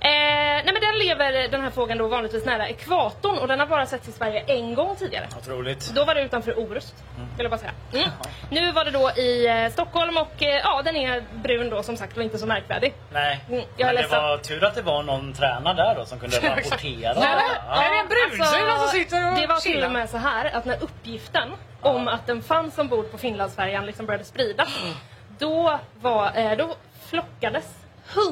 S4: Eh, nej men den lever, den här fågeln, då vanligtvis nära ekvatorn och den har bara setts i Sverige en gång tidigare.
S2: Otroligt.
S4: Då var det utanför Orust, vill jag bara säga. Mm. Nu var det då i eh, Stockholm och eh, ja, den är brun då som sagt och inte så märkvärdig.
S2: Nej.
S4: Mm, jag
S2: men
S4: är
S2: det
S4: ledsen.
S2: var tur att det var någon tränare där då som kunde rapportera.
S3: Nej, är det en brunsula som sitter och
S4: Alltså, Det var till
S3: chillar?
S4: och med så här att när uppgiften om att den fanns ombord på Finlandsfärjan liksom började spridas
S3: Mm.
S4: då, var, eh, då flockades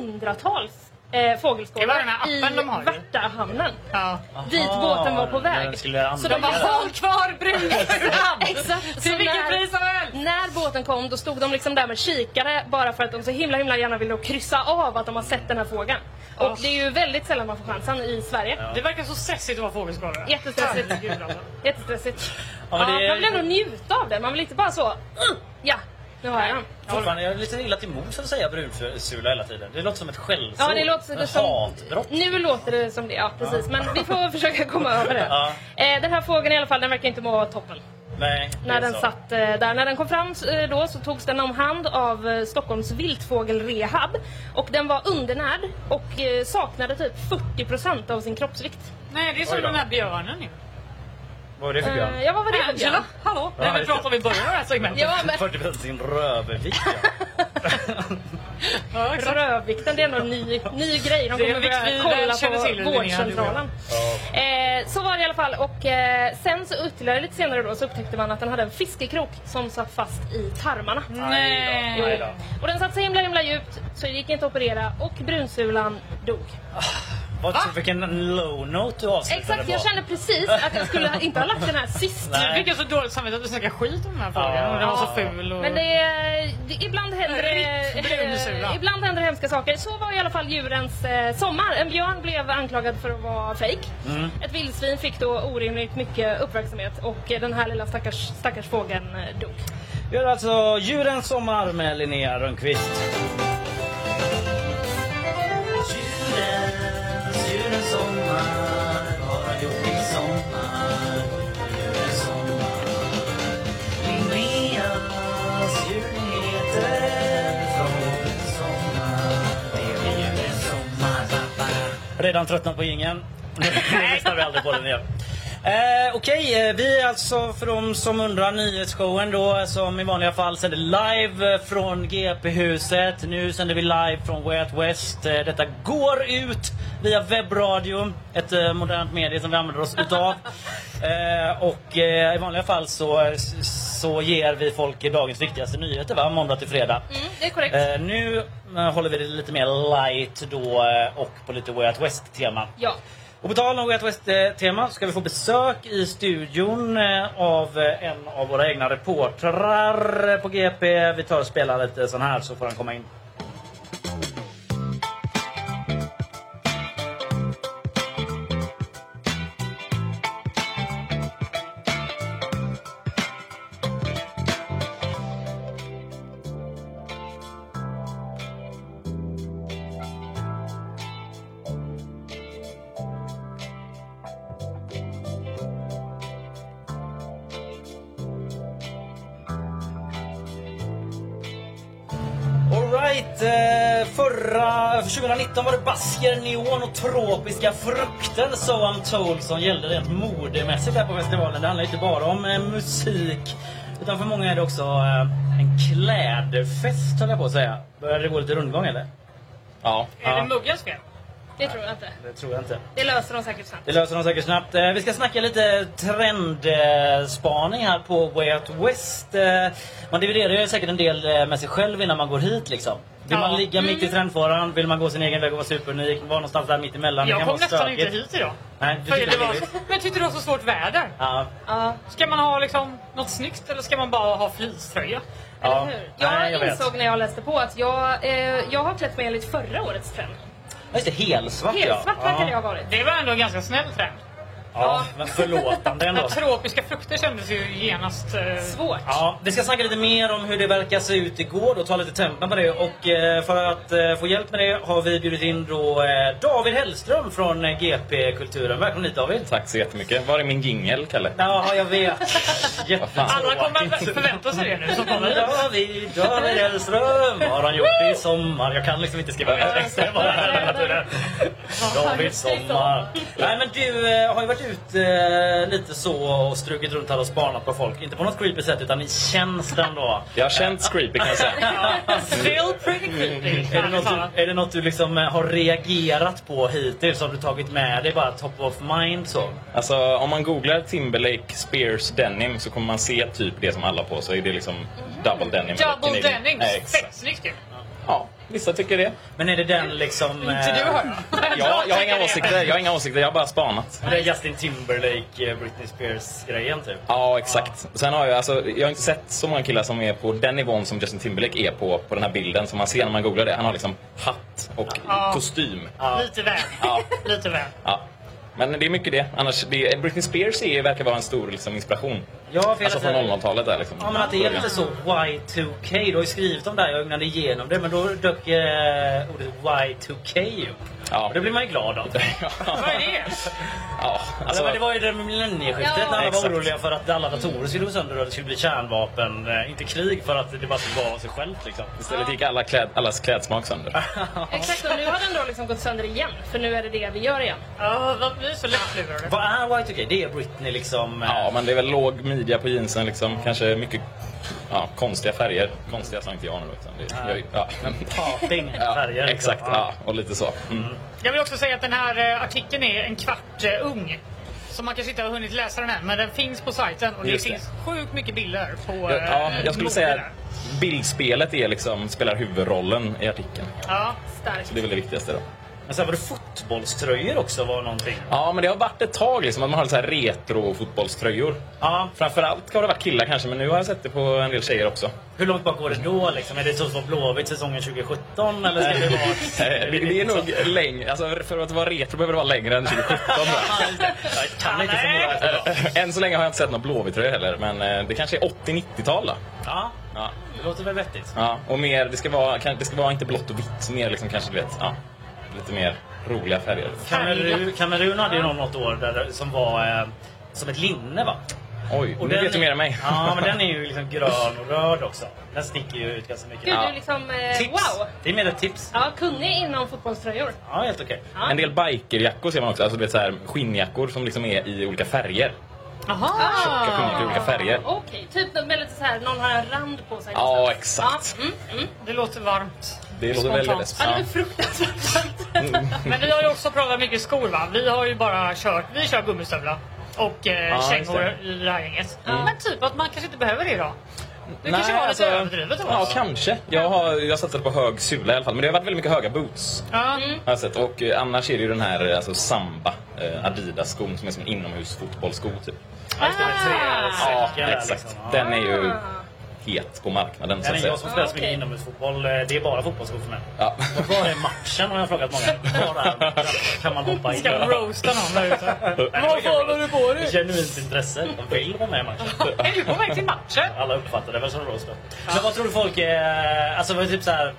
S4: hundratals
S3: Det
S4: eh,
S3: var den
S4: fågelskådar
S3: här
S4: i
S3: appen de har ju.
S4: Värtahamnen
S3: Ja.
S4: dit båten var på
S2: när
S4: väg.
S2: den skulle
S4: Så de
S2: anlända.
S4: bara,
S3: Håll kvar brunsulan!
S4: Exakt.
S3: Till
S4: Så
S3: vilket
S4: när-
S3: pris som helst!
S4: När båten kom då stod de liksom där med kikare bara för att de så himla himla gärna ville då kryssa av att de har sett den här fågeln. Och det är ju väldigt sällan man får chansen i Sverige.
S3: Det verkar så sessigt att vara fågelskådare.
S4: Jättestressigt.
S3: Herregud, alltså.
S4: Jättestressigt.
S2: Ja,
S4: Ja,
S2: men det är-
S4: Man vill ändå njuta av den, man vill inte bara så... "Ugh, Ja, nu har jag den.
S2: Fortfarande, jag är lite illa till mods att säga brunsula hela tiden. Det låter som ett skällsord.
S4: Ja, det låter
S2: Ett
S4: det som...
S2: hatbrott.
S4: Nu låter det som det, ja precis. Men vi får försöka komma över det.
S2: Ja.
S4: Eh, den här fågeln i alla fall, den verkar inte må toppen.
S2: Nej, det är
S4: När den
S2: så.
S4: satt eh, där. När den kom fram eh, då så togs den om hand av eh, Stockholms viltfågelrehab. Och den var undernärd och eh, saknade typ 40% av sin kroppsvikt.
S3: Nej, det är
S2: Oj
S3: som
S2: då.
S3: den här björnen ju.
S2: Vad är det för björn?
S4: Eh, ja, vad var det för björn?
S3: Angela, hallå!
S2: Ja,
S3: Det vi
S2: just det.
S3: pratade om i början av det här segmentet.
S4: Ja, men
S2: 40 procent sin rövvikt. ja.
S3: Ja, exakt.
S4: Rövvikten, det är nog en ny, ny grej. De
S3: Det är
S4: kommer
S3: en
S4: börja
S3: vikt vi
S4: kolla
S3: väl känner till,
S4: på
S3: Linnea,
S4: vårdcentralen. Eh, så var det i alla fall. Och eh, sen så ytterligare lite senare då så upptäckte man att den hade en fiskekrok som satt fast i tarmarna.
S3: Mm. Nej.
S2: Aj då, aj då.
S4: Och den satt så himla himla djupt så det gick inte att operera och brunsulan dog.
S2: Vad, vilken low note du avslutade
S4: Exakt,
S2: på.
S4: jag kände precis att jag skulle ha- inte ha lagt den här sist.
S2: Nej.
S3: Du fick jag så dåligt samvete att du snackade skit om den här fågeln.
S2: Ja.
S3: och Den var så ful. Och...
S4: Men det, är- det, ibland, händer,
S3: Ritt brunsula.
S4: eh, ibland händer hemska saker. Så var i alla fall djurens eh, sommar. En björn blev anklagad för att vara fejk.
S2: Mm.
S4: Ett vildsvin fick då orimligt mycket uppmärksamhet och eh, den här lilla stackars, stackars fågeln eh, dog.
S2: Vi har alltså Djurens sommar med Linnea Rönnqvist. Djurens, djurens sommar, vad har gjort i sommar? Djurens sommar. Linneas djurnyheter från sommar. Det blir djurens sommar. Redan tröttnat på ingen. Nu lyssnar vi aldrig på den igen. Eh, Okej, eh, vi är alltså för de som undrar nyhetsshowen då eh, som i vanliga fall sänder live eh, från GP-huset. Nu sänder vi live från Way Out West. Eh, detta går ut via webbradio, ett eh, modernt medie som vi använder oss utav. Eh, och eh, i vanliga fall så, så ger vi folk dagens viktigaste nyheter va? måndag till fredag.
S4: Mm, det är korrekt.
S2: Eh, nu eh, håller vi det lite mer light då eh, och på lite Way Out West-tema.
S4: Ja.
S2: Och på tal om Way Out West-tema ska vi få besök i studion eh, av eh, en av våra egna reportrar eh, på GP. Vi tar och spelar lite sån här så får han komma in. Alright, eh, förra, för 2019 var det basker, neon och tropiska frukter So I'm told som gällde rent modemässigt här på festivalen. Det handlar inte bara om eh, musik utan för många är det också eh, en klädfest höll jag på att säga. Börjar det gå lite rundgång eller?
S7: Ja.
S3: Är det muggens fel?
S4: Det tror jag inte.
S2: Det tror jag inte.
S4: Det löser de säkert sen.
S2: Det löser de säkert snabbt. Eh, Vi ska snacka lite trendspaning här på Way Out West. Eh, Man dividerar ju säkert en del eh, med sig själv innan man går hit liksom. Vill
S3: Ja.
S2: man ligga mitt i trendfaran? Vill man gå sin egen väg och vara superunik? Vara någonstans där mitt emellan?
S3: Jag
S2: kan
S3: kom
S2: vara
S3: nästan inte
S2: stökigt.
S3: hit idag.
S2: Nej, du
S3: För
S2: tycker
S3: det var,
S2: det är
S3: men jag tyckte det var så svårt väder.
S2: Ja.
S4: Ja,
S3: Ska man ha liksom något snyggt eller ska man bara ha fleecetröja?
S2: ja.
S4: eller hur? Jag,
S2: Nej, vet.
S4: insåg när jag läste på att jag, eh, jag har klätt mig enligt förra årets trend.
S2: Ja, Just det, helsvart ja.
S4: Helt svart verkar det ha varit.
S3: Det var ändå en ganska snäll trend.
S2: Ja, men förlåtande
S3: Men
S2: ändå.
S3: tropiska frukter kändes ju genast... Eh,
S4: Svårt.
S2: Ja, vi ska snacka lite mer om hur det verkar se ut igår och ta lite tempen på det. Och eh, för att eh, få hjälp med det har vi bjudit in då eh, David Hellström från eh, GP Kulturen. Välkommen hit David!
S7: Tack så jättemycket. Var är min jingel, Kalle?
S2: Ja, jag vet.
S3: alla kommer att förvänta sig det nu som kommer hit.
S2: David, David Hellström har han gjort det i sommar. Jag kan liksom inte skriva mer texter bara hela tiden. David Sommar. Nej men du eh, har ju varit ute eh, lite så och strukit runt här och spanat på folk. Inte på något creepy sätt utan i tjänsten då.
S7: Jag har känt creepy kan jag säga.
S3: Still pretty creepy.
S2: Är det, något du, är det något du liksom eh, har reagerat på hittills som du tagit med dig bara top of mind så?
S7: Alltså, om man googlar Timberlake Spears Denim så kommer man se typ det som alla har på sig. Det är liksom double denim.
S3: Double
S7: Canadian-
S3: denim.
S7: Nej,
S3: Fett
S7: exakt.
S3: snyggt ju.
S7: Ja, vissa tycker det.
S2: Men är det den liksom...
S3: Inte du
S2: eh,
S3: hör.
S7: Ja, jag har
S3: tycker
S7: inga
S3: det.
S7: åsikter. Jag har inga åsikter. Jag har bara spanat.
S2: Det är Justin Timberlake, eh, Britney Spears-grejen typ.
S7: Ja, exakt. Sen har jag, alltså, jag har inte sett så många killar som är på den nivån som Justin Timberlake är på, på den här bilden som man ser när man googlar det. Han har liksom hatt och
S3: Ja.
S7: kostym.
S3: Lite väl.
S7: Ja.
S3: Lite väl.
S7: Ja. Men det är mycket det. Annars, det Britney Spears är, verkar vara en stor liksom, inspiration.
S2: Ja, för jag
S7: Alltså från
S2: läste-
S7: 00-talet där liksom.
S2: Ja men att det är lite så Y2K. Du har ju skrivit om det här, jag ögnade igenom det. Men då dök eh, ordet Y2K upp.
S7: Ja.
S2: Och det blir man ju glad av.
S3: Vad är det?
S7: Ja,
S2: Alltså,
S7: alltså,
S2: men det var ju det med millennieskiftet
S4: Ja.
S2: när alla var
S7: Exakt.
S2: oroliga för att alla datorer skulle gå sönder och det skulle bli kärnvapen. eh, Inte krig för att det bara skulle vara sig självt liksom.
S7: istället gick alla kläd, allas klädsmak sönder.
S4: Exakt, och nu har den då liksom gått sönder igen. För nu är det det vi gör igen.
S3: Ja, vad- vi är så lättlurade.
S2: Vad är Y2K? Det är Britney liksom. eh,
S7: Ja, men det är väl låg midja på jeansen liksom. Kanske mycket ja, konstiga färger. Konstiga sa inte jag nu. Utan det, jag, ja.
S2: Parting färger.
S7: Ja,
S2: liksom.
S7: exakt, ja, och lite så. Mm.
S3: Jag vill också säga att den här eh, artikeln är en kvart eh, ung. Så man kanske inte har hunnit läsa den än, men den finns på sajten och det
S7: Just det.
S3: finns sjukt mycket bilder på
S7: Jag,
S3: eh,
S7: ja, jag skulle
S3: mode
S7: säga
S3: där.
S7: att bildspelet är liksom, spelar huvudrollen i artikeln.
S3: Ja.
S7: Så det är väl det viktigaste då.
S2: Men sen var det fotbollströjor också var någonting.
S7: Ja, men det har varit ett tag liksom, att man har så här retro-fotbollströjor.
S2: Ja,
S7: Framförallt har det varit killar kanske, men nu har jag sett det på en del tjejer också.
S2: hur långt bak går det då liksom? Är det så som var Blåvitt säsongen 2017 eller ska det vara...
S7: Eh, Det, det är nog längre, alltså, för att vara retro behöver det vara längre än 2017. va?
S2: Ja, just det. Jag kan inte så många.
S7: Eh, Än så länge har jag inte sett någon blåvittröja heller, men eh, det kanske är 80-90-tal då.
S2: Ja,
S7: Ja.
S2: det låter väl vettigt.
S7: Ja, och mer, det ska vara, kan- det ska vara inte blått och vitt, mer liksom kanske du vet, ja, lite mer roliga färger.
S2: Kameru- Kamerun hade ju någon något år där, det- som var eh, som ett linne va?
S7: Oj, nu
S2: den-
S7: vet du mer än mig.
S2: Ja, men den är ju liksom grön och röd också. Den sticker ju ut ganska mycket.
S4: Gud,
S7: Ja.
S4: du liksom... Eh,
S2: Tips!
S4: wow!
S2: Det är mer ett tips.
S4: Ja, kunnig inom fotbollströjor.
S2: Ja, helt okej.
S3: Ah.
S4: Ja.
S7: En del bikerjackor ser man också, alltså du vet så här skinnjackor som liksom är i olika färger.
S3: Aha.
S7: Tjocka skinnjackor i olika färger.
S4: Okej, typ med lite så här, någon har en rand på sig.
S7: Ja, exakt.
S4: Ja, mm, mm.
S3: Det låter varmt.
S7: Det låter
S3: Spontant.
S7: väldigt läskigt.
S4: ja, det
S7: Ja.
S4: är fruktansvärt varmt.
S3: Men vi har ju också provat mycket skor va? Vi har ju bara kört, vi kör gummistövlar och eh,
S7: Ja,
S3: kängor
S7: just Mm.
S3: i det här gänget. Men typ att man kanske inte behöver det idag. Det kanske var lite överdrivet av
S7: alltså, Ja,
S3: oss.
S7: kanske. Jag, har, jag satsade på hög sula i alla fall, men det har varit väldigt mycket höga boots.
S3: Ja.
S7: Har jag sett. Och eh, annars är det ju den här eh, alltså, Samba eh, Adidas-skon som är som en inomhusfotbollssko typ.
S2: Ja, just det, med tre
S7: Ja,
S2: säckar där,
S7: exakt.
S2: liksom. Ja.
S7: Den är ju
S4: Ah.
S7: het på marknaden så
S2: Ja,
S7: att
S2: men
S7: säga.
S2: jag som spelar så
S3: Ah,
S2: mycket
S4: okej.
S2: inomhusfotboll, eh, det är bara fotbollsskor för mig.
S7: Ja.
S2: Och Var är matchen har jag frågat många. Var är matchen? Kan man hoppa in?
S3: Ska roasta någon där ute.
S2: Nej, det var
S3: Vad fan har
S2: kul.
S3: du på Ah. dig?
S2: Genuint intresse. De vill vara med i matchen.
S3: Är du på väg till matchen?
S2: Alla uppfattar det väl som roast. då. Men vad tror du folk... Eh, alltså vad är typ så här,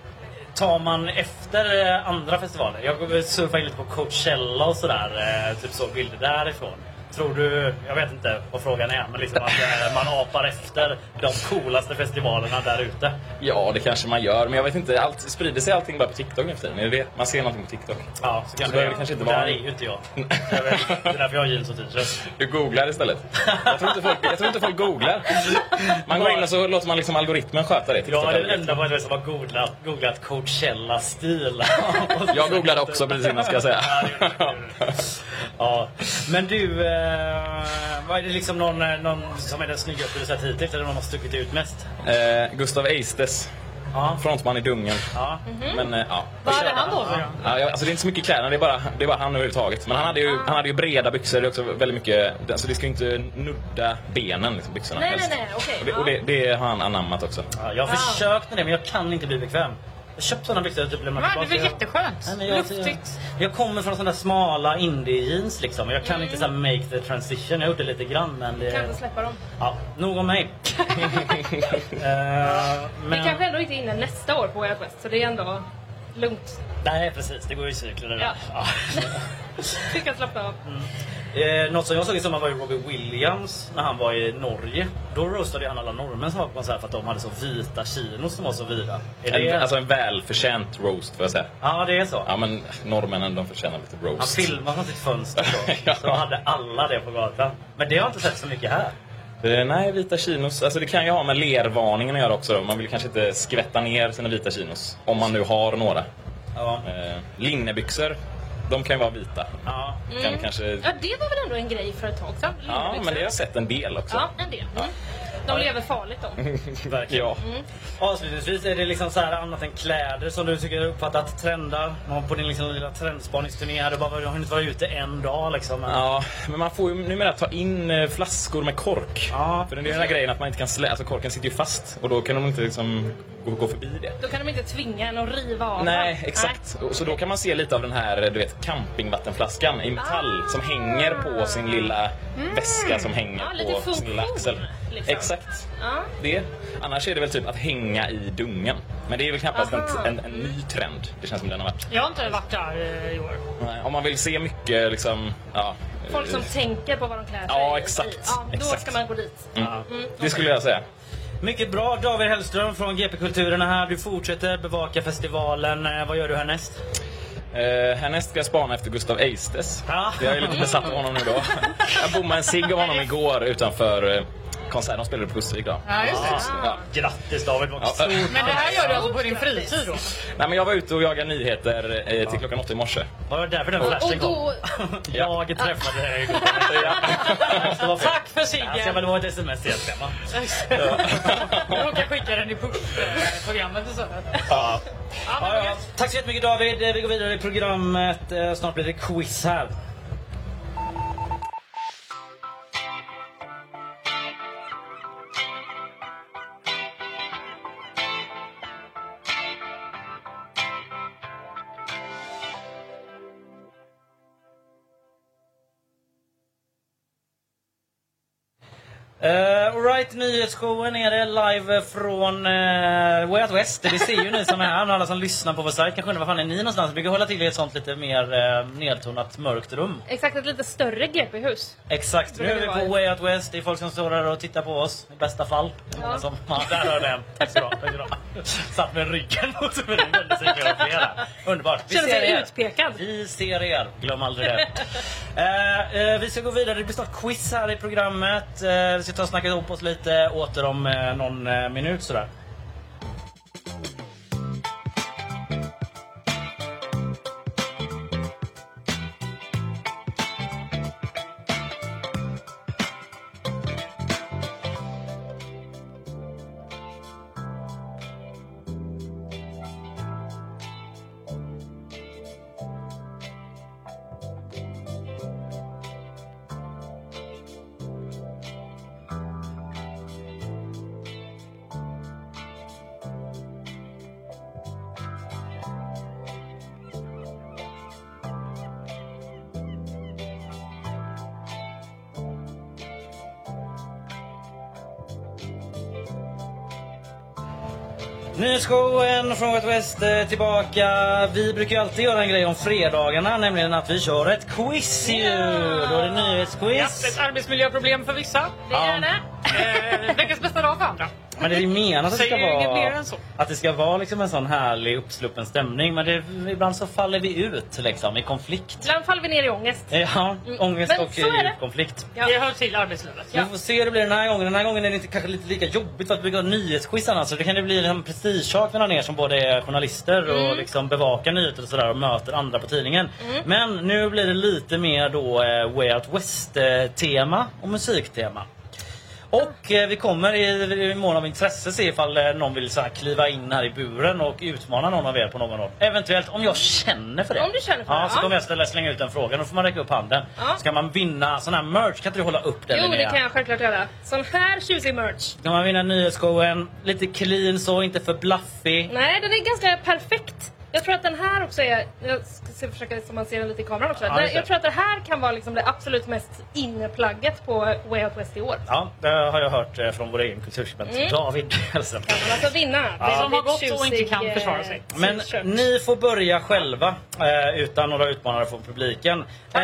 S2: tar man efter eh, andra festivaler? Jag surfade in lite på Coachella och sådär. Eh, typ så bilder därifrån. Tror du, jag vet inte vad frågan är, men liksom att eh, man apar efter de coolaste festivalerna där ute.
S7: ja, det kanske man gör. Men jag vet inte, allt, sprider sig allting bara på TikTok nu för tiden? Är det det? Man ser någonting på TikTok.
S2: Ja, så kanske
S7: behöver det kanske inte
S2: Där
S7: vara-
S2: är ju inte jag. Jag vet, det är därför jag har jeans och t-shirt.
S7: Du googlar istället. Jag tror inte folk, jag tror inte folk googlar. Man går in och så låter man liksom algoritmen sköta det.
S2: Jag är den
S7: TikTok-algoritmen.
S2: enda på adressen som har googlat, googlat Coachella-stil.
S7: Jag googlade också precis innan ska jag säga.
S2: Ja, det gjorde du, det gjorde du. ja. Men du, eh, vad är det liksom någon, eh, någon som är den snyggaste du sett hittills? Eller någon har stuckit ut mest?
S7: Eh, Gustav Eistes,
S2: Ja.
S7: frontman i Dungen.
S2: ja.
S4: Mm.
S7: Men eh, ja.
S3: Vad hade han på sig då?
S7: Ja, jag- alltså det är inte så mycket kläder, det är bara, det är bara han överhuvudtaget. Men han hade
S4: Ah.
S7: ju, han hade ju breda byxor, det är också väldigt mycket, så det ska ju inte nudda benen liksom, byxorna.
S4: Nej,
S7: helst.
S4: nej, nej, okej,
S7: Och, det, och det, det har han anammat också.
S2: Ja, jag har försökt med det men jag kan inte bli bekväm. Jag köpte sådana byxor och typ lämnade
S3: Men det var
S2: Jag-
S3: jätteskönt.
S2: Nej, men jag,
S3: Luftigt.
S2: Jag, jag kommer från sådana smala indie-jeans liksom. Jag kan inte så här make the transition. Jag har gjort det lite grann men
S4: Kan inte
S2: det...
S4: släppa dem.
S2: Ja, nog om mig. Eh,
S4: Vi
S2: men...
S4: kanske ändå inte är inne nästa år på Way Out West, så det är ändå lugnt.
S2: Nej precis, det går ju i cykler. det där.
S4: Ja. Vi kan slappna av.
S7: Mm.
S2: Eh, något som jag såg i sommar var ju Robbie Williams när han var i Norge. Då roastade han alla norrmän som var på konsert för att de hade så vita chinos som var så vida. Är det...
S7: En, alltså en välförtjänt roast får jag säga.
S2: Ja, det är så.
S7: Ja men norrmännen de förtjänar lite
S2: Han
S7: roast.
S2: filmade från sitt fönster då.
S7: Ja.
S2: Så hade alla det på gatan. Men det har jag inte sett så mycket här.
S7: Eh, Nej, vita chinos. Alltså det kan ju ha med lervarningen att göra också. Då. Man vill kanske inte skvätta ner sina vita chinos. Om man nu har några.
S2: Ja.
S7: Eh, linnebyxor, de kan ju vara vita.
S2: Ja.
S7: Kan kanske...
S4: Mm. Ja, det var väl ändå en grej för ett tag sedan.
S7: Ja, men det har jag sett en del också.
S4: Ja, en del. Mm. De lever farligt de.
S2: Verkligen.
S7: Ja.
S4: Mm.
S2: Avslutningsvis, är det liksom så här annat än kläder som du tycker uppfattat trendar? Någon på din liksom lilla trendspaningsturné här, du bara jag har inte varit ute en dag liksom. Men-
S7: Ja, men man får ju numera ta in eh, flaskor med kork.
S2: Ja.
S7: För det är ju den här grejen att man inte kan slä... Alltså korken sitter ju fast och då kan de inte liksom gå, gå förbi det.
S4: Då kan de inte tvinga en att riva av
S7: Nej,
S4: den.
S7: exakt. Och Så då kan man se lite av den här du vet, campingvattenflaskan i metall
S4: Ah.
S7: som hänger på sin lilla väska som hänger
S4: Mm. Ja, lite
S7: på sin lilla
S4: funktion,
S7: axel.
S4: liksom.
S7: Exakt.
S4: Ja.
S7: Det. Annars är det väl typ att hänga i dungen. Men det är väl knappast en, en, en ny trend. Det känns som den har varit.
S3: Jag har inte varit där eh, i år.
S7: Nej, Om man vill se mycket liksom... Ja,
S4: Folk som
S7: eh,
S4: tänker på vad de klär sig
S7: Ja,
S4: i.
S7: exakt.
S4: Ja, då
S7: Exakt.
S4: ska man gå dit.
S2: Ja.
S7: Det skulle jag säga.
S2: Mycket bra. David Hellström från GP Kulturen är här. Du fortsätter bevaka festivalen. Eh, Vad gör du härnäst?
S7: Eh, härnäst ska jag spana efter Gustav Eistes.
S2: Ja.
S7: Jag är lite besatt av honom nu då. Jag bommade en cigg av honom igår utanför eh, konsert. De spelade på Pustervik då.
S3: Ja, just det.
S7: Ja.
S2: Grattis David, vad
S7: Ja.
S2: stort.
S3: Men det här gör du alltså på din fritid då?
S7: Nej, men jag var ute och jagade nyheter eh, till klockan åtta i morse.
S2: Var det därför den
S4: Och, och
S2: flashen kom?
S4: då...
S2: Jag träffade dig. Det var
S3: Tack för
S2: Ja, så
S3: Sigge!
S2: jag vill ha ett sms egentligen va?
S3: Jag råkade skicka den i push-programmet och sådär. Ja,
S7: Ja.
S2: Ja,
S3: men
S2: ja.
S3: gött.
S2: Tack så jättemycket David. Eh, Vi går vidare i programmet. Eh, Snart blir det quiz här. Uh, Alright, nyhetsshowen är det live från uh, Way Out West. Det ser ju ni som är här och alla som lyssnar på vår sajt kanske undrar var fan är ni någonstans? Vi brukar hålla till i ett sånt lite mer eh, nedtonat mörkt rum.
S4: Exakt, ett lite större GP-hus.
S2: Exakt, nu är vi
S4: Brukar det
S2: på
S4: vara.
S2: Way Out West. Det är folk som står där och tittar på oss i bästa fall. Ja. Som, ja, där har den. Tack så bra. Tack så bra. Satt med ryggen mot muren. Vände sig flera och flera. Underbart. Vi
S4: Känner
S2: ser
S4: sig
S2: er.
S4: utpekad.
S2: Vi ser er. Glöm aldrig det. Eh, eh, vi ska gå vidare. Det blir snart quiz här i programmet. Eh, vi ska ta och snacka ihop oss lite åter om eh, någon eh, minut sådär. Nyhetsshowen från Wet West eh, tillbaka. Vi brukar ju alltid göra en grej om fredagarna, nämligen att vi kör ett quiz ju. Då är det
S3: Ja,
S2: nyhetsquiz.
S3: ett arbetsmiljöproblem för vissa.
S4: Det är det.
S3: Eh, veckans bästa dag för andra.
S2: Men det är ju menat att det ska
S3: Säger ju inget mer
S2: vara,
S3: än så.
S2: att det ska vara liksom en sån härlig uppsluppen stämning. Men det, ibland så faller vi ut liksom, i konflikt. Eh,
S4: Ibland faller vi ner i ångest.
S2: Ja,
S4: Mm.
S2: ångest
S4: Men
S2: och
S4: så är det.
S2: eh, konflikt.
S4: Ja.
S3: Det hör till arbetslivet.
S2: Vi får se hur det blir den här gången. Den här gången är det inte, kanske lite lika jobbigt för att bygga nyhetsquiz annars. Så det kan det bli en liksom prestigesak mellan er som både är journalister och
S4: Mm.
S2: liksom bevakar nyheter och sådär och möter andra på tidningen. Men nu blir det lite mer då eh, Way Out West eh, tema och musiktema. Och eh, vi kommer i, i mån av intresse se ifall eh, någon vill så här, kliva in här i buren och utmana någon av er på någon roll. Eventuellt om jag känner för det.
S4: Om du känner för
S2: ja,
S4: det,
S2: Så
S4: ja.
S2: kommer jag ställa, slänga ut en fråga. Då får man räcka upp handen.
S4: Ja.
S2: Ska man vinna sån här merch? Kan inte du hålla upp den
S4: Jo, det
S2: Linnea?
S4: kan jag självklart göra. Sån här tjusig merch.
S2: Ska man vinna nyhetsshowen? Lite clean så, inte för blaffig.
S4: Nej, den är ganska perfekt. Jag tror att den här också är... Jag ska se, försöka så man ser den lite i kameran också.
S2: Ja,
S4: Den-
S2: just det.
S4: jag tror att det här kan vara liksom det absolut mest inneplagget på Way Out West i år.
S2: Ja, det har jag hört eh, från vår egen kulturskribent David Hellström.
S4: Men alltså vinna. eh,
S3: Ja. Som har gått och inte kan försvara sig.
S2: Men ni får börja själva eh, utan några utmanare från publiken. Eh,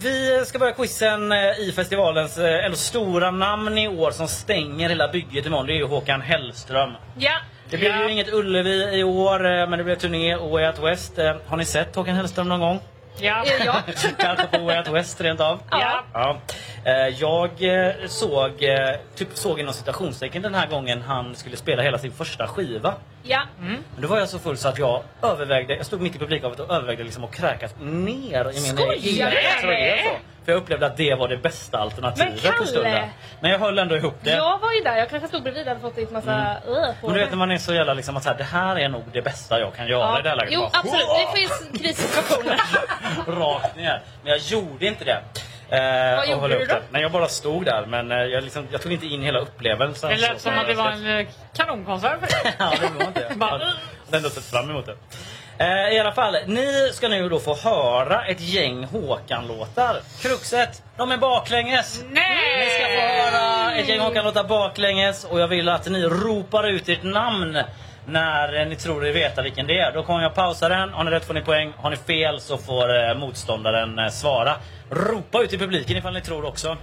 S2: vi ska börja quizen eh, i festivalens eh, eller stora namn i år som stänger hela bygget imorgon. Det är ju Håkan Hellström.
S4: Ja.
S2: Det blev
S3: Ja.
S2: ju inget Ullevi i år eh, men det blev turné och Way Out West. Eh, har ni sett Håkan Hellström någon gång?
S3: Ja.
S4: Eh, Ja.
S2: Kanske på Way Out West rent av.
S4: Ja.
S2: Ja. Eh, Jag eh, såg, eh, typ såg inom citationstecken den här gången han skulle spela hela sin första skiva.
S4: Ja.
S2: Men då var jag så full så att jag övervägde, jag stod mitt i publikhavet och övervägde liksom att kräkas ner i min
S4: Skojar du?
S2: egen tröja. så. För jag upplevde att det var det bästa alternativet
S4: Men Kalle!
S2: i stunden. Men jag höll ändå ihop det.
S4: Jag var ju där. Jag kanske stod bredvid och hade fått dit massa... Mm.
S2: Men du vet när man är så jävla liksom att så här, det här är nog det bästa jag kan göra i det här läget.
S4: Jo,
S2: Bara,
S4: absolut. Det finns krissituationer.
S2: rakt ner. Men jag gjorde inte det. Eh,
S4: Vad
S2: och
S4: gjorde
S2: höll
S4: du
S2: upp
S4: då?
S2: den. Nej, jag bara stod där men eh, jag, liksom, jag tog inte in hela upplevelsen.
S3: Det
S2: Så-
S3: lät som att det var en eh, kanonkonsert för dig.
S2: ja, det var inte. Jag
S3: Bara-
S2: hade ändå sett fram emot det. Eh, I alla fall, ni ska nu då få höra ett gäng Håkan-låtar. Kruxet, de är baklänges!
S3: Nej!
S2: Ni ska få höra ett gäng Håkan-låtar baklänges och jag vill att ni ropar ut ert namn när eh, ni tror er veta vilken det är. Då kommer jag pausa den. Har ni rätt får ni poäng. Har ni fel så får eh, motståndaren eh, svara. Ropa ut i publiken ifall ni tror också.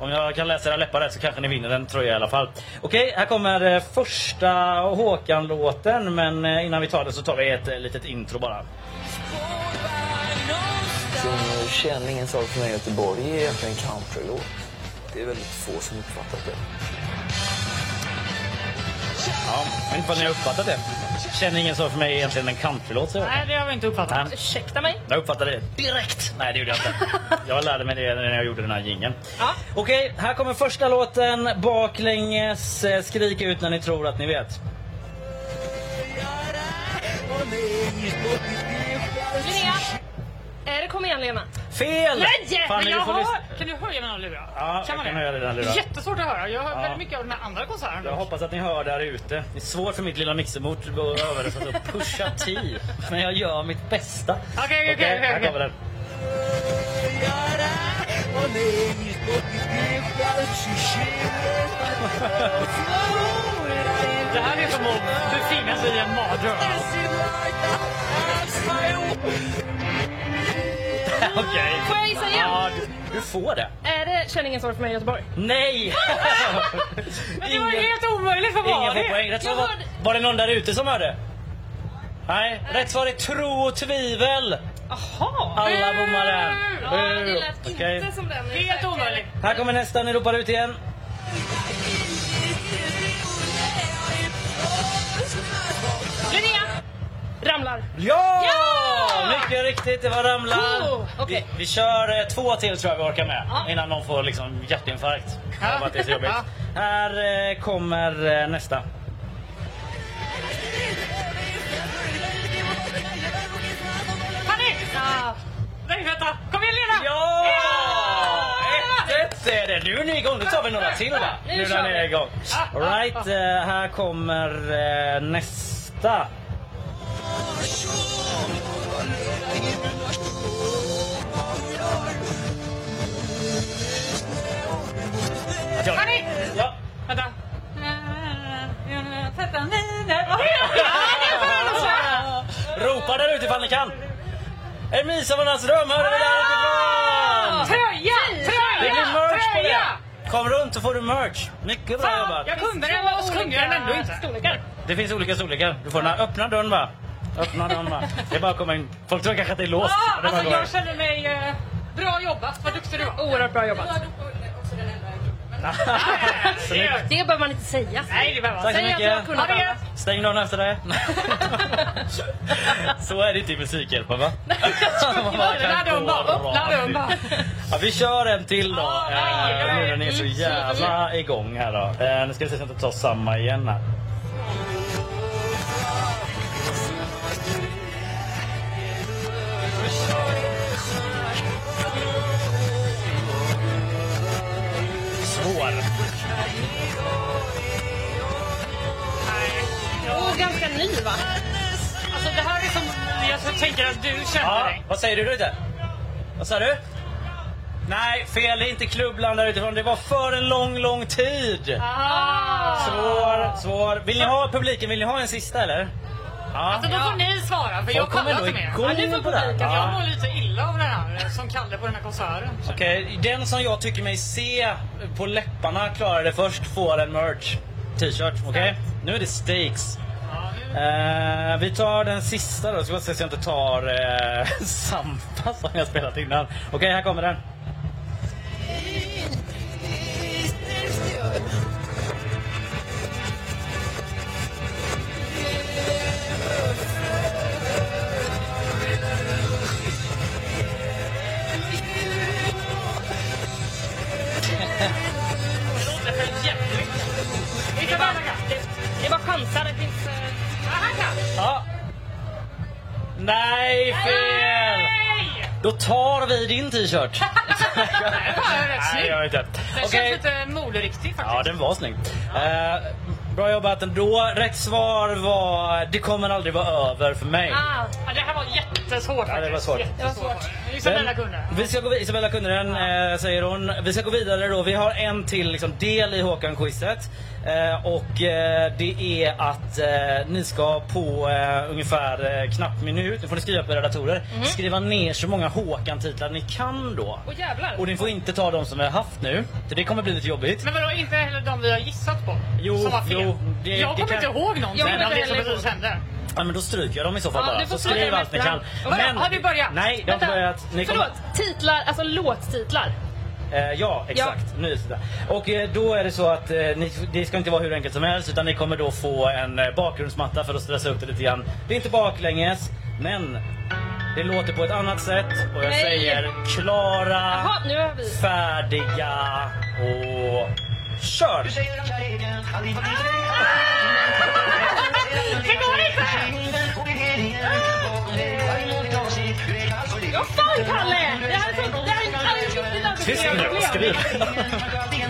S2: Om jag kan läsa era läppar rätt så kanske ni vinner den tröja i alla fall. Okej, här kommer eh, första Håkan-låten men eh, innan vi tar den så tar vi ett eh, litet intro bara.
S8: Som känning, en sak för mig i Göteborg är egentligen countrylåt. Det är väldigt få som uppfattat det.
S2: Ja, jag vet inte vad ni har uppfattat det. Känner ingen så för mig egentligen en countrylåt. så jag-
S3: Nej, det har vi inte uppfattat.
S2: Nej,
S4: Ursäkta mig.
S2: Jag uppfattade det direkt. Nej, det gjorde jag inte. Jag lärde mig det när jag gjorde den här jingeln.
S4: Ja.
S2: Okej, här kommer första låten baklänges. Eh, Skrik ut när ni tror att ni vet.
S4: Linnea! Eh, det kommer igen Lena.
S2: Fel!
S4: Nej!
S2: Fan,
S3: Men
S2: ni
S3: jag
S2: får lyssna.
S3: hör... Kan du höja mina lurar?
S2: Ja, jag kan höja dina lurar.
S3: Jättesvårt att höra. Jag hör
S2: Ja.
S3: väldigt mycket av den här andra konserten.
S2: Jag hoppas att ni hör där ute. Det är svårt för mitt lilla mixerbord att översätta och pusha T. Men jag gör mitt bästa.
S3: Okej, okej, okej,
S2: här
S3: okej.
S2: kommer den.
S3: Det här är som att befinna sig i en mardröm.
S2: Okej.
S4: Får jag gissa igen?
S2: Ja, du, du får det.
S4: Är Eh, det Känn ingen sorg för mig i Göteborg?
S2: Nej!
S3: Men det var ju helt omöjligt för
S2: Ingen
S3: vad
S2: får poäng.
S3: det?
S2: Rätt svar
S4: Jag
S2: var,
S4: hörde-
S2: var det någon där ute som hörde? Nej, rätt svar är tro och tvivel.
S3: Jaha!
S2: Alla bommar den.
S4: Ja, det lät
S2: Okej.
S4: inte som den.
S3: Helt omöjligt.
S2: Här kommer nästa, ni ropar ut igen.
S4: Linnea! Ramlar.
S2: Ja!
S4: Ja!
S2: Mycket riktigt, det var ramlan.
S4: Oh, okej.
S2: vi, vi kör eh, två till tror jag vi orkar med
S4: Ja.
S2: innan någon får liksom, hjärtinfarkt.
S3: Ja.
S2: Av att det är så jobbigt.
S3: Ja.
S2: Här eh, kommer eh, nästa.
S3: Panik! Nej, vänta. Kom igen Lena!
S2: Ja! 1-1 är det. Nu är ni igång. Nu tar vi några till va?
S4: Nu
S2: Nu
S4: kör
S2: när ni är
S4: vi. Ah,
S2: igång. All right, eh, här kommer eh, nästa. Ja.
S3: Panik!
S2: Ja.
S3: Vänta. Sätta miner.
S2: Ropa där ute ifall ni kan. En midsommarnatts dröm hörde vi
S4: Ah!
S2: där utifrån.
S3: Tröja!
S2: Det blir
S3: Tröja!
S2: merch på
S3: Tröja!
S2: det. Kom runt så får du merch. Mycket bra jobbat.
S3: Jag kunde den, men så kunde jag den ändå inte.
S4: Storlekar.
S2: Det finns olika storlekar. Du får den här öppna dörren va? Öppna dörren va? Det är bara att komma in. Folk tror kanske att det är låst.
S3: Ja,
S2: Det är bara att
S3: alltså
S2: gå in.
S3: jag känner mig... eh, Bra jobbat, vad duktig du var.
S4: Oerhört bra jobbat.
S2: Snyggt.
S4: Det behöver man inte säga.
S3: Nej, det behöver
S2: Tack så
S4: Säg att jag har
S2: mycket.
S4: kunnat
S3: Ja, det är-
S4: alla.
S2: Stäng dörren efter dig. Så är det inte i Musikhjälpen va?
S3: Öppna dörren bara, öppna dörren bara.
S2: Ja, vi kör en till då.
S3: Ja, nej, Mm,
S2: Eh,
S3: nej.
S2: Nu när ni är så jävla igång här då. Eh, Nu ska vi se så att jag inte tar samma igen här. Svår.
S4: Och ganska ny va?
S3: Alltså det här är som jag tänker att du känner
S2: Ja,
S3: dig.
S2: vad säger du där ute? Vad sa du? Nej, fel. Det är inte klubbland där utifrån. Det var för en lång, lång tid.
S3: Ah.
S2: Svår, svår. Vill ni ha publiken? Vill ni ha en sista eller? Ja.
S3: Alltså då får ni svara för jag
S2: Folk kommer
S3: kallar
S2: ändå
S3: inte mer.
S2: igång
S3: Ja, ni får
S2: på det här.
S3: publiken.
S2: Ja.
S3: Jag mår lite illa av den här eh, som Kalle på den här konserten.
S2: Okej, den som jag tycker mig se på läpparna klarar det först får en merch t-shirt. Okej? Nu är det stakes.
S3: Ja, nu-
S2: Eh, vi tar den sista då. Ska bara se så jag inte tar eh, Sampa som jag spelat innan. Okej, här kommer den.
S4: Det var, det var chansar. Det finns... eh,
S2: Ja. Nej, fel!
S3: Nej!
S2: Då tar vi din t-shirt.
S3: Det var rätt
S2: Nej,
S3: snyggt.
S2: jag vet inte.
S3: Den
S2: Okej.
S3: känns lite moderiktig
S2: Ja,
S3: faktiskt.
S2: den var snygg. Eh, bra jobbat ändå. Rätt svar var Det kommer aldrig vara över för mig.
S4: Ah,
S3: Ja, det här var jättesvårt
S2: Ja, det var
S3: faktiskt.
S2: svårt.
S3: Jättesvårt. Liksom
S2: Men
S3: Isabella kunde.
S2: Vi ska gå vid- Isabella Kunneren eh, säger hon. Vi ska gå vidare då. Vi har en till liksom, del i Håkan-quizet. Eh, och eh, det är att eh, ni ska på eh, ungefär eh, knapp minut, nu får ni skriva på era datorer,
S4: Mhm.
S2: skriva ner så många Håkan-titlar ni kan då.
S4: Åh, jävlar.
S2: Och ni får inte ta de som vi har haft nu, för det kommer bli lite jobbigt.
S3: Men vadå, inte heller de vi har gissat på?
S2: Jo,
S3: som var fel.
S2: jo, det-
S3: jag
S2: det
S3: kommer
S2: kan-
S3: inte ihåg någonting
S4: Jag kommer
S3: av
S4: inte
S3: det som
S4: heller
S3: precis hände.
S2: Ja men då stryker jag dem i så fall
S4: Ja,
S2: bara.
S4: du
S2: Så
S4: får stryka
S2: skriv
S4: dem
S2: allt ni
S4: efter.
S2: kan.
S4: Och vadå,
S2: Men-
S3: har vi börjat?
S2: Nej, de har
S4: Vänta.
S2: börjat. Ni kommer-
S4: Förlåt, titlar, alltså låttitlar.
S2: Eh, ja, exakt. Nyhetsdata. Och eh, då är det så att eh, ni, det ska inte vara hur enkelt som helst utan ni kommer då få en eh, bakgrundsmatta för att stressa upp det lite grann. Det är inte baklänges, men det låter på ett annat sätt och jag
S4: Nej.
S2: säger klara,
S4: Jaha, nu har vi...
S2: färdiga och kör!
S4: Det går inte! Vad fan Kalle! Det här är så... Det här är alldeles riktigt alltså
S2: Tyst
S4: stora
S2: nu och
S4: problem.
S2: skriv!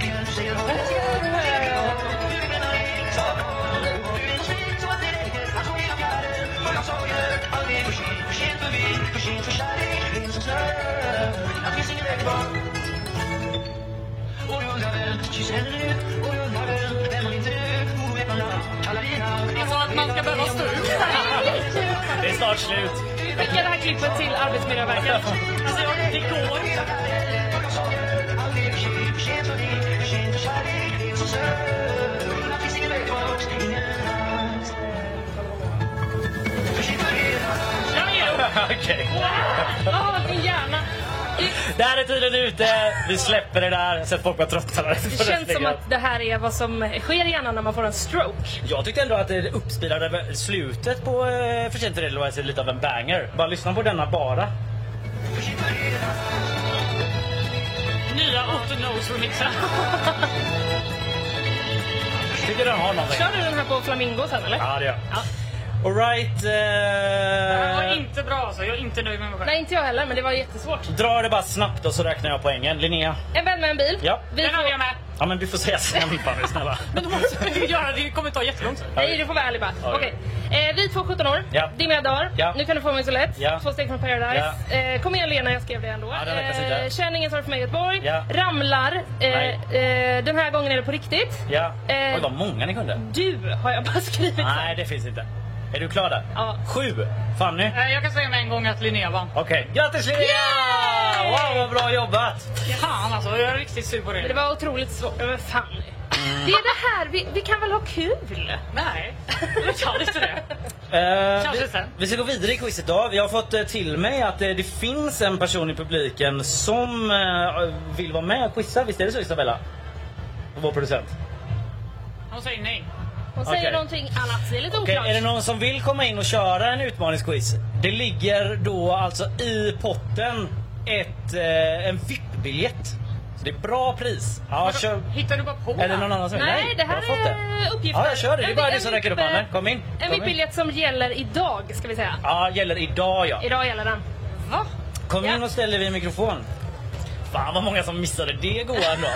S3: Alltså att man ska behöva stå ut med
S2: Det är snart slut.
S4: Vi skickar det här klippet till Arbetsmiljöverket.
S3: Alltså jag- det går inte.
S4: Jag ger upp.
S2: Okej.
S4: Åh, min hjärna.
S2: Där är tiden ute. Vi släpper det där. Jag har sett folk vara trötta. där.
S4: Det känns som att det här är vad som sker i hjärnan när man får en stroke.
S2: Jag tyckte ändå att det uppspelade slutet på eh, För sent för Eld var lite av en banger. Bara lyssna på denna bara.
S3: Nya Otto Nose-remixen.
S2: Tycker den har någonting?
S4: Kör du den här på Flamingo sen eller?
S2: Ja, det gör jag. eh, Alright.
S3: Det här var
S2: Eh,
S3: inte bra alltså. Jag är inte nöjd med mig själv.
S4: Nej, inte jag heller, men det var jättesvårt.
S2: dra det bara snabbt och så räknar jag poängen. Linnea?
S4: En vän med en bil.
S2: Ja.
S4: Vi
S3: Den hade jag
S4: får...
S3: med.
S2: Ja, men du får säga snabba nu snälla.
S3: Men då måste vi göra det. Det kommer ta jättelång tid.
S4: Nej, du får vara ärlig bara.
S2: Ja.
S4: Okej. Eh, vi två 17 år,
S2: Ja.
S4: dimmiga dagar.
S2: Ja.
S4: Nu kan du få mig så lätt.
S2: Ja.
S4: Två steg från Paradise. Eh, kom igen Lena, jag skrev det ändå.
S2: Ja, den räknas inte.
S4: Känn ingen sorg för mig Göteborg.
S2: Ja.
S4: Ramlar.
S2: Nej.
S4: Eh, eh, den här gången är det på riktigt.
S2: Ja.
S4: Eh.
S2: Oj, vad många ni kunde.
S4: Du har jag bara skrivit.
S2: Nej, det finns inte. Är du klar där?
S4: Ja.
S2: Sju. Fanny?
S3: Eh, Jag kan säga med en gång att Linnea vann.
S2: Okej. Grattis Linnea! Wow, vad bra jobbat!
S3: Fan alltså, jag är riktigt sur på det.
S4: Det var otroligt svårt. Men fan.
S2: Mm.
S4: Det är det här, vi, vi kan väl ha kul?
S3: Nej, jag kan inte det.
S2: Eh,
S3: Kanske
S2: vi-
S3: sen.
S2: Vi ska gå vidare i quizet då. Jag har fått eh, till mig att eh, det finns en person i publiken som eh, vill vara med och quizza. Visst är det så Isabella? Vår producent.
S3: Hon säger nej.
S4: Hon säger
S2: Okej.
S4: någonting annat, det är lite
S2: Okej,
S4: oklart.
S2: är det någon som vill komma in och köra en utmaningsquiz? Det ligger då alltså i potten ett, eh, en VIP-biljett. Så det är bra pris. Ja, kör.
S3: Hittar du bara på?
S2: Är det någon annan som vill?
S4: Nej, det
S2: jag har
S4: här
S2: fått
S4: är uppgifter.
S2: Ja, jag kör det. Det är
S4: En-
S2: bara
S4: en
S2: du som räcker upp
S4: VIP-
S2: handen. Kom in.
S4: En
S2: Kom in.
S4: VIP-biljett som gäller idag, ska vi säga.
S2: Ja, gäller idag ja.
S4: Idag gäller den. Va?
S2: Kom
S4: Ja.
S2: in och ställ dig vid mikrofon. Fan vad många som missade det goa ändå.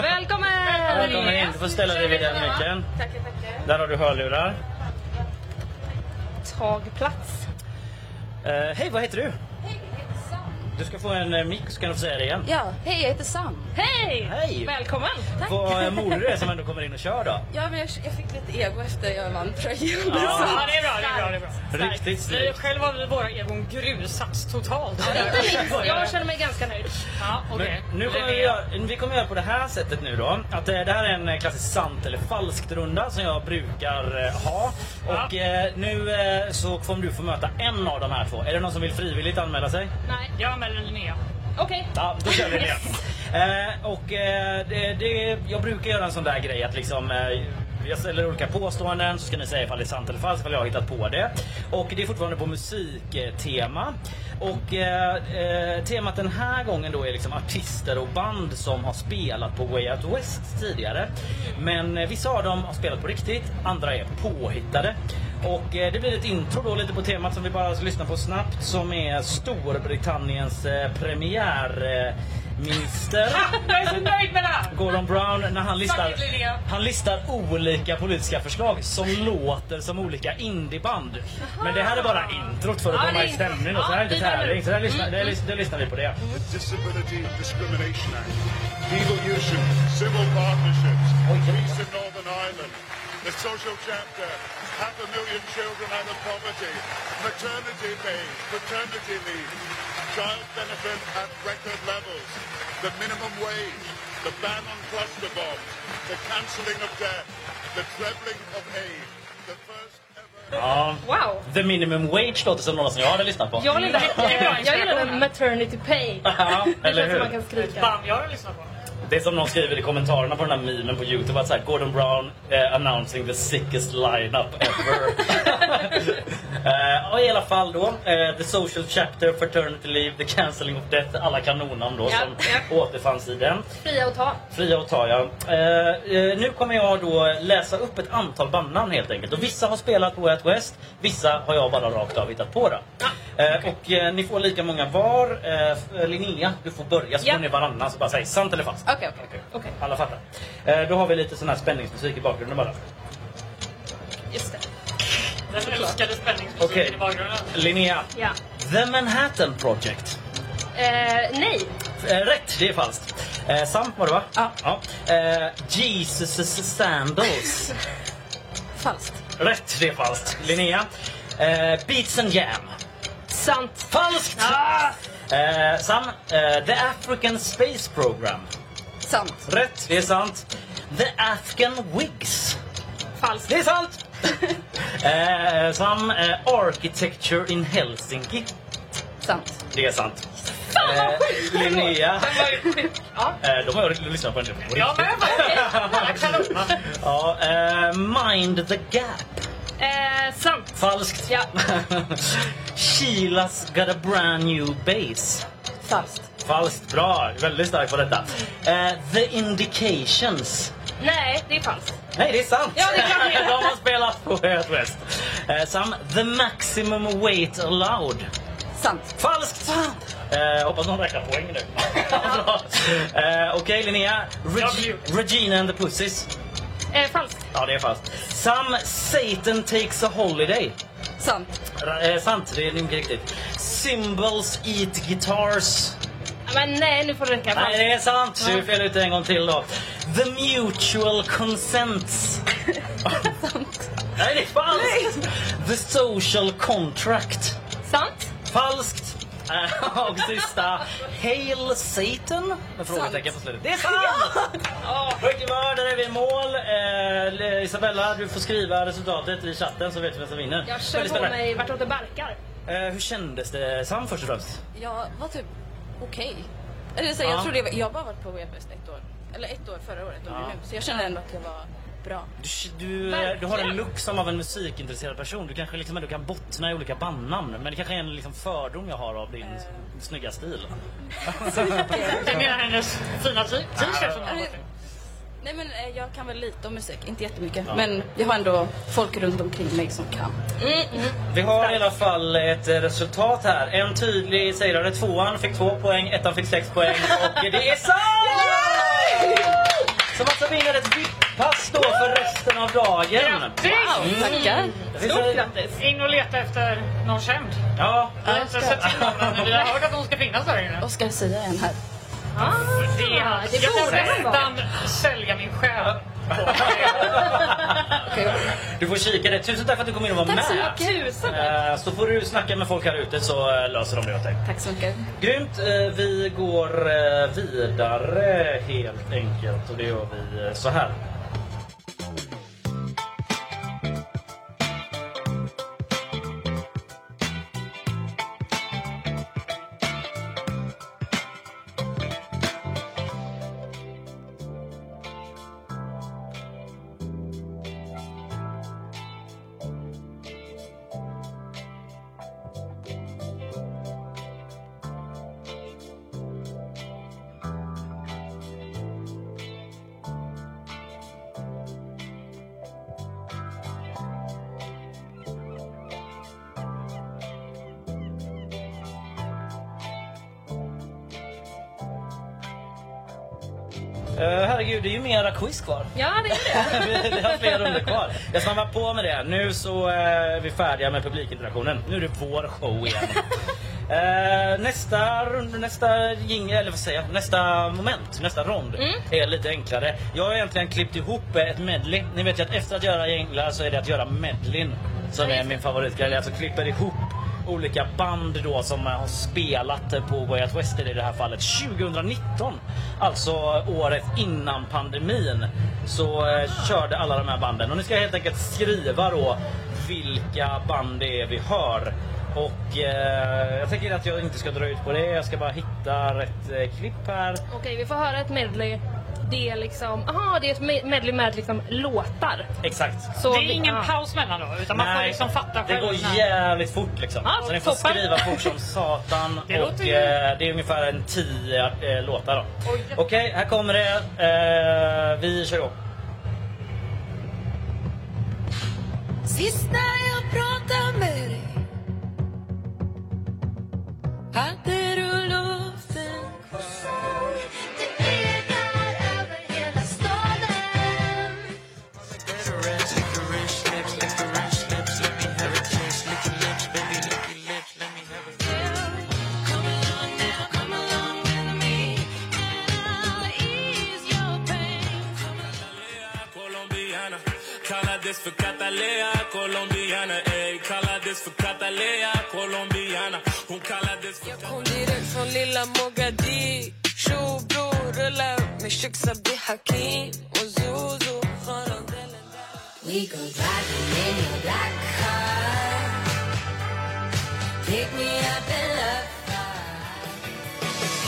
S4: Välkommen!
S2: Välkommen in, du får ställa dig vid den micken.
S4: Tackar, tackar.
S2: Där har du hörlurar.
S4: Tag plats.
S2: Eh, Hej, vad heter du? Du ska få en eh, mick så kan du få säga det igen.
S5: Ja, hej jag heter Sam.
S4: Hej!
S2: Hej.
S4: Välkommen!
S2: Vad eh, modig du är som ändå kommer in och kör då.
S5: Ja, men jag, jag fick lite ego efter jag vann tröjan.
S3: Ja, det är bra, det är bra. Det är bra.
S2: Riktigt
S3: Vi,
S2: snyggt.
S3: själv har vi våra egon grusats totalt.
S4: Inte minst, jag känner mig ganska nöjd.
S3: Ja, okej.
S2: Men Nu kommer vi, göra, vi kommer göra på det här sättet nu då. Att eh, det här är en eh, klassisk sant eller falskt runda som jag brukar eh, ha. Och eh, nu eh, så kommer du få möta en av de här två. Är det någon som vill frivilligt anmäla sig?
S4: Nej.
S3: Jag anmäler Linnea.
S4: Okej.
S2: Ja, då kör vi det. Eh, och eh, det, det, jag brukar göra en sån där grej att liksom eh, jag ställer olika påståenden så ska ni säga ifall det är sant eller falskt, ifall jag har hittat på det. Och det är fortfarande på musiktema. Och eh, eh, temat den här gången då är liksom artister och band som har spelat på Way Out West tidigare. Men eh, vissa av dem har spelat på riktigt, andra är påhittade. Och eh, det blir ett intro då lite på temat som vi bara ska lyssna på snabbt som är Storbritanniens eh, premiärminister
S3: Jag är så nöjd med det här!
S2: Gordon Brown när han listar,
S3: Fucking Linnea.
S2: han listar olika politiska förslag som låter som olika indieband. Men det här är bara introt för att
S4: Ja,
S2: komma
S4: det Mm, är
S2: i
S4: intro.
S2: stämning och så
S4: Ja,
S2: här är inte
S4: vidare nu.
S2: tävling. Så där lyssnar, där, lys- där lyssnar vi på det.
S8: the Disability Discrimination Act, legal usury, civil partnerships, peace in Northern Ireland, the social chapter, half a million children out of poverty, maternity pay, paternity leave, child benefit at record levels, the minimum wage, the ban on cluster bombs, the cancelling of debt, the trebling of aid, the first ever...
S2: Ja.
S4: Wow!
S2: The Minimum Wage låter som någon som jag hade lyssnat på.
S4: Jag gillar,
S3: bra
S4: jag gillar den maternity pay.
S2: Ja,
S4: Det
S2: eller
S4: känns som
S2: hur?
S4: man kan skrika.
S3: Bam, jag har lyssnat på den.
S2: Det är som någon skriver i kommentarerna på den här memen på Youtube att så här, Gordon Brown eh, announcing the sickest lineup ever. eh, och I alla fall då, eh, The Social Chapter, Fraternity Leave, The Cancelling of Death, alla kanonnamn då
S4: Ja,
S2: som
S4: ja.
S2: återfanns i den.
S4: Fria att ta.
S2: Fria att ta ja. Eh, eh, nu kommer jag då läsa upp ett antal bandnamn helt enkelt. Och vissa har spelat på Way Out West, vissa har jag bara rakt av hittat på. Då. Eh, och eh, ni får lika många var. Eh, f- Linnea, du får börja så
S4: Ja.
S2: får ni varannan så bara säg sant eller falskt.
S4: Okej, okej, okej. okej.
S2: Alla fattar. Eh, då har vi lite sån här spänningsmusik i bakgrunden bara.
S4: Just det.
S3: Den älskade spänningsmusiken
S2: Okej.
S3: i bakgrunden.
S2: Linnea.
S4: Ja.
S2: The Manhattan Project.
S4: Eh, nej.
S2: Eh, rätt, det är falskt. Eh, sant var det va?
S4: Ja.
S2: Eh, Jesus Sandals.
S4: Falskt.
S2: Rätt, det är falskt. Linnea. Eh, beats and Jam.
S4: Sant.
S2: Falskt! Eh, Sam. Eh, the African Space Program.
S4: Sant.
S2: Rätt, det är sant. The Afghan Wigs.
S4: Falskt.
S2: Det är sant! eh, Sam. Eh, Architecture in Helsinki.
S4: Sant.
S2: Det är sant.
S4: Fan vad sjukt!
S2: Eh, Linnea.
S4: Ja.
S2: Eh, de har jag lyssnat på en del på
S3: Jag
S2: riktigt.
S3: med faktiskt. Alla kanoner.
S2: Ja, eh, Mind the Gap.
S4: Eh, sant.
S2: Falskt.
S4: Ja.
S2: Sheila's got a brand new base.
S4: Falskt.
S2: Falskt. Bra. Väldigt stark på detta. Eh, the Indications.
S4: Nej, det är falskt.
S2: Nej, det är sant!
S4: Ja, det är klart det är.
S2: De har spelat på Way West. Eh, Sam, The Maximum Weight Allowed.
S4: Sant.
S2: Falskt! Eh, hoppas någon räknar poäng nu. Bra. eh, Okej, Linnea.
S3: Jag
S2: Reg-
S3: blir-
S2: Regina and the Pussies.
S4: Eh, falskt.
S2: Ja, det är falskt. Sam, Satan takes a holiday.
S4: Sant.
S2: Ra- Eh, sant, det är mycket riktigt. Symbols eat guitars.
S4: Men nej, nu får det
S2: Nej,
S4: räcka. Falskt.
S2: det är sant. Så vi fel ut en gång till då. The mutual consents. Nej, det är falskt. The social contract.
S4: Sant.
S2: Falskt. Eh, Och sista. Hail Satan? Med frågetecken på slutet. Det är sant! Ja, Mycket bra, där är vi i mål. Eh, Isabella, du får skriva resultatet i chatten så vet vi vem som vinner.
S4: Jag kör
S2: Väldigt
S4: på
S2: spännande.
S4: mig vartåt det barkar.
S2: Eh, hur kändes det, Sam, först och främst?
S9: Jag var typ okej. Eller så, här,
S2: Ja.
S9: jag, tror det var, jag har bara varit på Webfest ett år. Eller ett år förra året och
S2: Ja.
S9: nu. Så jag känner ändå att jag var bra.
S2: Du, du, eh, du har en look som av en musikintresserad person. Du kanske liksom ändå kan bottna i olika bandnamn. Men det kanske är en liksom fördom jag har av din snygga stil.
S3: Jag menar hennes fina t- t-shirt som hon har på sig.
S9: Nej men eh, jag kan väl lite om musik, inte jättemycket. Men jag har ändå folk runt omkring mig som kan.
S2: Vi har i alla fall ett eh, resultat här. En tydlig segrare, tvåan fick två poäng, ettan fick sex poäng och det är sant! Som alltså vinner ett VIP-pass då för resten av dagen.
S3: Grattis!
S9: Tackar!
S2: Det finns
S4: Stort
S2: en-
S4: grattis.
S3: In och leta efter någon känd.
S2: Ja,
S3: Vi har inte sett till någon, men vi har hört att hon ska finnas där inne.
S9: Oskar Sia är en här.
S4: Ah,
S3: Det är han.
S4: det
S3: Jag
S4: borde
S3: kan
S4: han vara.
S3: nästan sälja min själ.
S2: du får kika det. Tusen tack för att du kom in och var
S9: Tack så
S2: med.
S9: mycket! Tusen
S2: Eh, Så får du snacka med folk här ute så eh, löser de det åt dig.
S9: Tack så mycket.
S2: Grymt! eh, Vi går eh, vidare helt enkelt och det gör vi eh, så här. Eh, Herregud, det är ju mera quiz kvar.
S4: Ja, det är det.
S2: vi vi har fler runder kvar. Jag snabbar på med det. Nu så eh, är vi färdiga med publikinteraktionen. Nu är det vår show igen. Eh, nästa rund, nästa jing, eller vad säger jag, nästa moment, nästa rond är lite enklare. Jag har egentligen klippt ihop eh, ett medley. Ni vet ju att efter att göra jinglar så är det att göra medleyn som är min favoritgrej. Alltså klipper ihop olika band då som eh, har spelat eh, på Way Out West i det här fallet 2019. Alltså året innan pandemin så eh, körde alla de här banden och ni ska helt enkelt skriva då vilka band det är vi hör. Och eh, jag tänker att jag inte ska dra ut på det. Jag ska bara hitta rätt eh, klipp här.
S4: Okej, vi får höra ett medley. Det är liksom, aha, det är ett me- medley med liksom låtar.
S2: Exakt.
S4: Så
S3: Det
S4: vi-
S3: är ingen
S4: ja.
S3: paus mellan då, utan man får liksom fatta
S2: det
S3: själv.
S2: går
S3: när-
S2: jävligt fort liksom.
S3: Ja,
S2: så ni får
S3: toppen.
S2: skriva fort som satan.
S3: Det
S2: och
S3: låter ju-
S2: eh, det är ungefär en tio eh, låtar då. Okej, här kommer det. Eh, vi kör igång.
S5: Sist när jag pratade med dig hade du luften
S10: colombiana. Kalla this för Catalea colombiana. Ey, kalla this för Catalea colombiana. Hon kallar this för...
S5: Kom direkt från lilla Mogadishu bror, rulla upp med Sheikh Sabri Hakim och Zuzu från We go driving in your black car Pick me up and love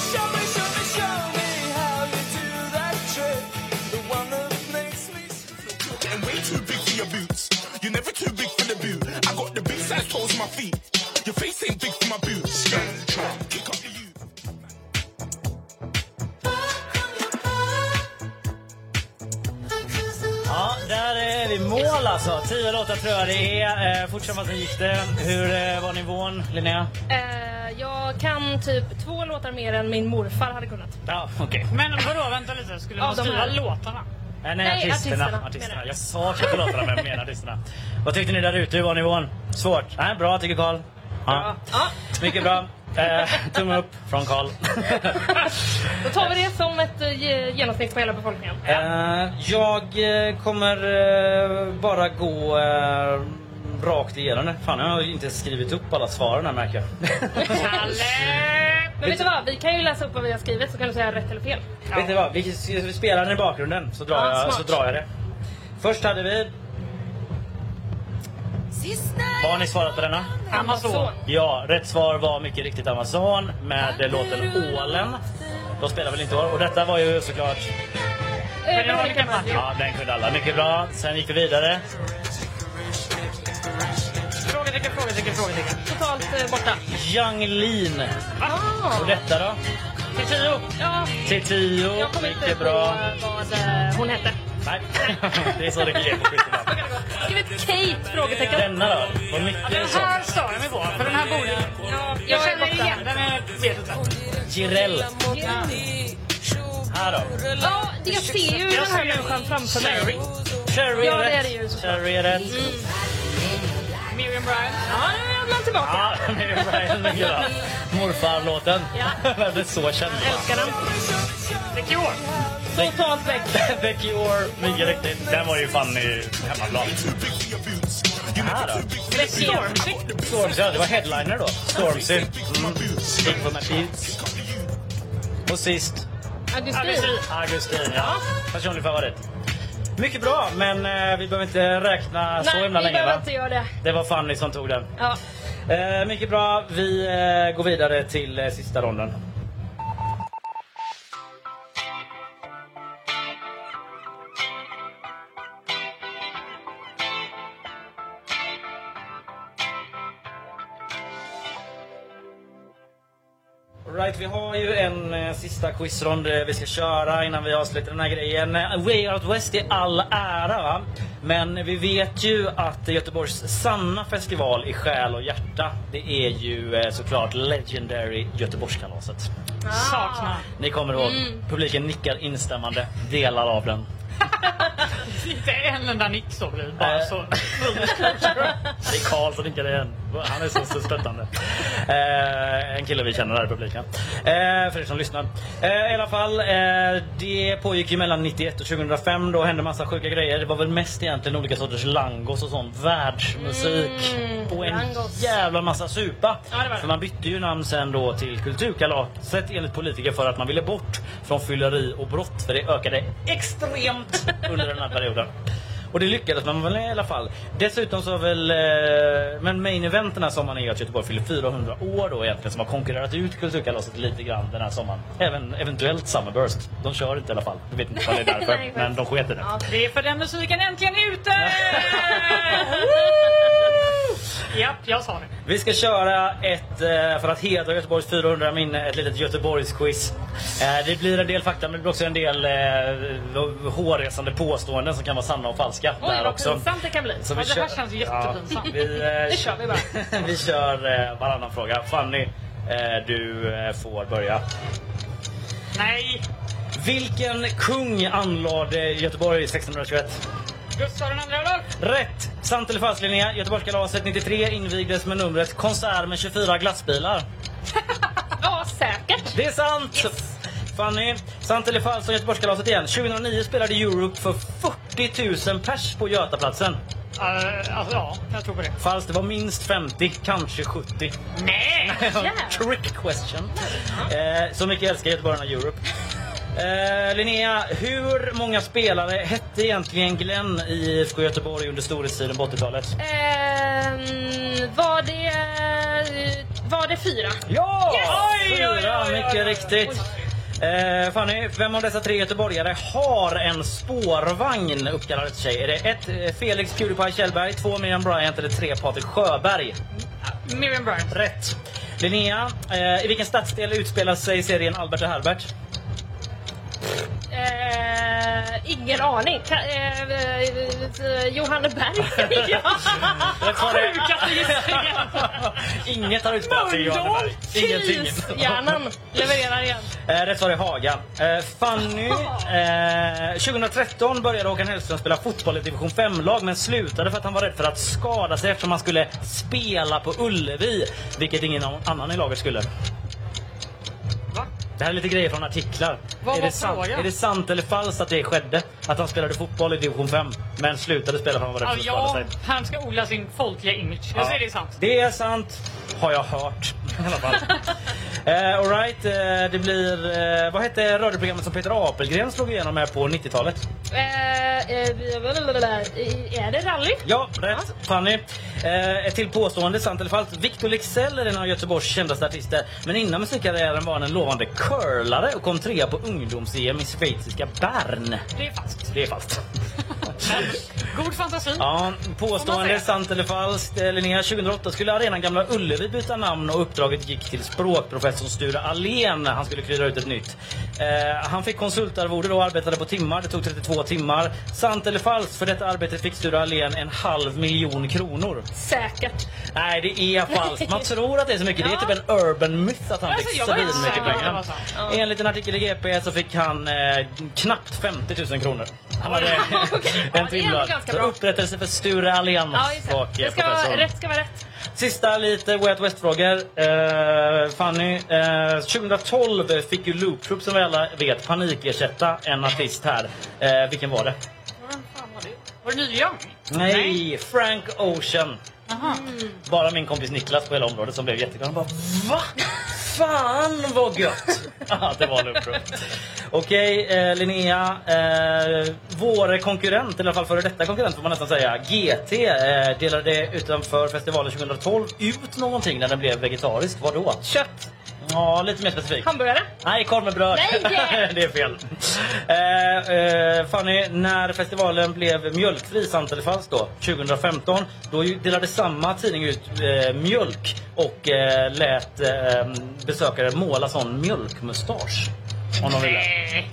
S5: Show me, show me, show me how you do that trick The one that makes me
S10: Getting way too big for your boots. You're never too big for the boot. I got the big size toes my feet. Your face ain't big for my boots. Kick up the youth.
S2: Ja, där är vi i mål alltså. Tio låtar tror jag det är. Eh, fort som fasen gick det. Hur eh, var nivån Linnea?
S4: Eh, jag kan typ två låtar mer än min morfar hade kunnat.
S2: Ja, okej.
S3: Men vadå, vänta lite. Skulle
S4: Ja,
S3: man
S4: de
S3: skriva
S4: här.
S3: låtarna?
S2: Eh, nej,
S4: Nej,
S2: artisterna.
S4: artisterna,
S2: artisterna.
S4: menar jag.
S2: Jag sa kanske låtarna men jag menar artisterna. Vad tyckte ni där ute? Hur var nivån? Svårt? Nej, bra tycker Karl. Ja.
S4: Ja,
S2: Mycket bra. Eh, tumme upp från Karl.
S4: då tar vi det som ett eh, ge- genomsnitt på hela befolkningen.
S2: Eh, jag eh, kommer eh, bara gå eh, rakt igenom det. Fan, jag har ju inte skrivit upp alla svaren här märker jag.
S3: Kalle!
S4: Men vet du vad, vi kan ju läsa upp vad vi har skrivit så kan du säga rätt eller fel.
S2: Vet ni vad? Vi, vi spelar den i bakgrunden så drar,
S4: Ja,
S2: jag, så
S4: smart.
S2: drar jag det. Först hade vi...
S5: Sist när
S2: Vad har ni svarat på denna?
S3: Amazon.
S4: Eh,
S2: Ja, rätt svar var mycket riktigt Amazon med eh, låten Ålen. De spelar väl inte år. Och detta var ju såklart...
S4: Veronica Maggio.
S2: Ja, den kunde alla. Mycket bra. Sen gick vi vidare.
S3: Frågetecken, frågetecken, frågetecken.
S4: Totalt eh, borta.
S2: Yung Lean.
S4: Ah!
S2: Och detta då?
S3: Till tio.
S4: Ja,
S2: Till tio.
S4: jag kommer inte
S2: Mycket
S4: på
S2: bra.
S4: eh, vad eh, hon hette.
S2: Nej, det är så det är på skiten.
S4: Skrivit Kate? Frågetecken.
S2: Denna då? Vad mycket
S3: Den
S2: så.
S3: här stör jag mig på, för den här borde...
S4: Ja,
S3: Jag
S4: jag är
S3: känner igen den,
S4: borta.
S3: men jag vet inte.
S2: Jireel. Här då?
S4: Ja, det jag ser ju den här människan framför mig.
S2: Cherry
S4: Ja,
S2: är
S4: det är det
S2: rätt.
S4: ju såklart.
S2: Cherry är rätt.
S3: Miriam Bryant.
S4: Ja, nu är man tillbaka.
S2: Ja, det är Brian McGraw. Morfar-låten.
S4: Ja.
S2: Jag blir så känd.
S4: Älskar den.
S3: The Cure.
S2: Totalt väck. Becky Orr, mycket riktigt. Den var ju fan i hemmaplan. Här då?
S3: Stormzy.
S2: Stormzy, ja, det var headliner då. Stormzy. Mm. Gick på Matisse. Och sist,
S4: Augustin.
S2: Augustin. Ja, personlig favorit. Mycket bra, men eh, vi behöver inte räkna så
S4: Nej, vi
S2: himla länge
S4: behöver
S2: va?
S4: inte göra det.
S2: Det var Fanny som tog den.
S4: Ja.
S2: Eh, mycket bra. Vi eh, går vidare till eh, sista ronden. Right, vi har ju en eh, sista quizrond eh, vi ska köra innan vi avslutar den här grejen. Eh, Way Out West i all ära va? Men vi vet ju att Göteborgs sanna festival i själ och hjärta det är ju eh, såklart Legendary Göteborgskalaset.
S3: Saknar.
S2: Ni kommer ihåg, publiken nickar instämmande, delar av den.
S3: Inte en enda nick såg vi. Bara
S2: Nej.
S3: så.
S2: Det är Karl som nickar igen. Han är så så stöttande. Eh, en kille vi känner där i publiken. Eh, för er som lyssnar. Eh, I alla fall, eh, det pågick ju mellan 91 och 2005. Då hände massa sjuka grejer. Det var väl mest egentligen olika sorters langos och sån världsmusik. och en
S4: langos.
S2: jävla massa supa.
S3: Mm, Ja, det var det.
S2: För man bytte ju namn sen då till Kulturkalaset enligt politiker för att man ville bort från fylleri och brott. För det ökade extremt under den här perioden. Och det lyckades man väl i alla fall. Dessutom så har väl... eh, Men main eventerna som man är i Göteborg fyller 400 år då egentligen. Som har konkurrerat ut Kulturkalaset lite grann den här sommaren. Även eventuellt Summerburst. De kör inte i alla fall. Jag vet inte om det är därför.
S3: Nej,
S2: men de sket i det.
S3: Ja, det är för den musiken äntligen ute! Japp, jag sa det.
S2: Vi ska köra ett, eh, för att hedra Göteborgs 400 minne, ett litet Göteborgsquiz. Eh, Det blir en del fakta men det blir också en del eh, hårresande påståenden som kan vara sanna och falska.
S4: Oj,
S2: där
S4: vad
S2: också.
S4: pinsamt det kan bli.
S2: Så vi
S4: Ja, det
S2: kör-
S4: här känns jättepinsamt.
S2: Ja, vi, eh,
S4: Det kör vi bara.
S2: vi kör eh, varannan fråga. Fanny, eh, du eh, får börja.
S3: Nej,
S2: Vilken kung anlade Göteborg 1621?
S3: Gustav den andra Adolf.
S2: Rätt! Sant eller falskt Linnea? Göteborgskalaset 93 invigdes med numret Konsert med 24 glassbilar.
S4: Ja, säkert.
S2: Det är sant! Fanny, sant eller falskt om Göteborgskalaset igen? 2009 spelade Europe för 40 000 pers på Götaplatsen.
S3: Eh, alltså, ja, jag tror på det.
S2: Falskt, det var minst 50, kanske 70.
S3: Nej!
S2: Trick question. Eh, så mycket älskar göteborgarna Europe. Eh, Linnea, hur många spelare hette egentligen Glenn i IFK Göteborg under storhetstiden på 80-talet?
S4: Ehm, var, det, var det fyra?
S2: Ja!
S4: Yes! Oj, oj,
S2: Fyra,
S4: oj, oj, oj.
S2: mycket riktigt. Eh, Fanny, vem av dessa tre göteborgare har en spårvagn uppkallad efter sig? Är det ett eh, Felix Pewdiepie Kjellberg, två Miriam Bryant eller tre Patrik Sjöberg?
S3: Miriam Bryant.
S2: Rätt. Linnea, eh, i vilken stadsdel utspelar sig serien Albert och Herbert?
S4: Ehm, ingen aning. Ka- eh, eh, Johanneberg säger jag.
S2: Rätt svar är-
S4: Sjukaste gissningen.
S2: Inget har utspelat sig i Johanneberg. Ingenting.
S4: Hjärnan levererar igen.
S2: Eh, Rätt svar är Haga. Eh, Fanny, eh, 2013 började Håkan Hellström spela fotboll i division 5-lag men slutade för att han var rädd för att skada sig eftersom han skulle spela på Ullevi, vilket ingen annan i laget skulle.
S3: Va?
S2: Det här är lite grejer från artiklar.
S3: Vad
S2: är,
S3: var
S2: det sant,
S3: frågan?
S2: är det sant eller falskt att det skedde? Att han spelade fotboll i division 5 men slutade spela för att han var rädd
S3: Ja,
S2: för att skada
S3: ja,
S2: sig?
S3: han ska odla sin folkliga image. Jag
S2: Ja.
S3: säger det är sant.
S2: Det är sant, har jag hört. I alla fall. Eh, all right, eh, det blir... Eh, vad hette radioprogrammet som Peter Apelgren slog igenom med på 90-talet?
S4: Ehm, eh, blablabla. är det rally?
S2: Ja, rätt. Fanny. Eh, ett till påstående, sant eller falskt. Victor Leksell är en av Göteborgs kändaste artister. Men innan musikkarriären var han en lovande curlare och kom trea på ungdoms-EM i schweiziska Bern.
S3: Det är fast.
S2: Det är falskt.
S3: God fantasi.
S2: Ja,
S3: Får man
S2: påstående
S3: säga.
S2: sant eller falskt. Eh, Linnea, 2008 skulle arenan Gamla Ullevi byta namn och uppdraget gick till språkprofessorn Sture Allén. Han skulle klura ut ett nytt. Eh, han fick konsultarvode då och arbetade på timmar. Det tog 32 timmar. Sant eller falskt? För detta arbete fick Sture Allén en halv miljon kronor.
S4: Säkert.
S2: Nej, det är falskt. Man tror att det är så mycket. Det är typ en urban myth att han
S3: Alltså,
S2: fick
S3: jag var inte
S2: så mycket
S3: säker på att det
S2: pengar.
S3: var sant.
S2: Enligt en artikel i GP så fick han eh, knappt 50 000 kronor. Han hade en
S4: det är ändå
S2: timlön.
S4: ganska
S2: Så
S4: bra.
S2: Upprättelse för Sture Allén
S4: Ja, just det.
S2: och eh,
S4: det ska vara,
S2: professorn.
S4: rätt ska vara rätt.
S2: Sista lite Way Out West-frågor. Eh, Fanny, eh, 2012 fick ju Loop Troop som vi alla vet panikersätta en artist här. Eh, vilken var det?
S3: Vem fan var det? Var det Neil Young?
S2: Nej, Frank Ocean. Mm. Bara min kompis Niklas på hela området som blev jätteglad. Han bara VA? Fan vad gött! Ja, det var en uppror. Okej, eh, Linnea. Eh, vår konkurrent, eller i alla fall före detta konkurrent får man nästan säga, GT eh, delade utanför festivalen 2012 ut någonting när den blev vegetarisk. Vad då? Kött! Ja, lite mer specifikt.
S4: Hamburgare?
S2: Nej, korv med bröd.
S4: Nej!
S2: det är fel. Eh, eh, Fanny, när festivalen blev mjölkfri, sant eller falskt då, 2015, då ju- delade samma tidning ut eh, mjölk och eh, lät eh, besökare måla sån mjölkmustasch. Om de ville.
S3: Nej.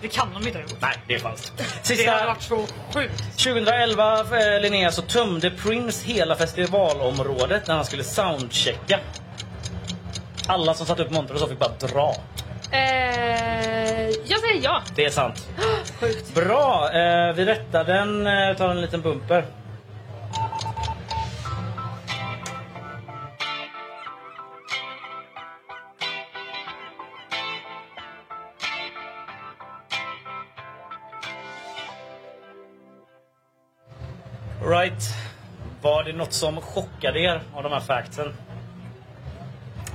S3: Det kan de inte ha gjort.
S2: Nej, det är falskt.
S3: Det hade
S2: Sista,
S3: varit så sjukt.
S2: 2011, eh, Linnea, så tömde Prince hela festivalområdet när han skulle soundchecka. Alla som satte upp monter och så fick bara dra.
S4: Eh, jag säger ja.
S2: Det är sant. Bra! Eh, vi rättar den. Eh, tar en liten bumper. Right. Var det något som chockade er av de här factsen?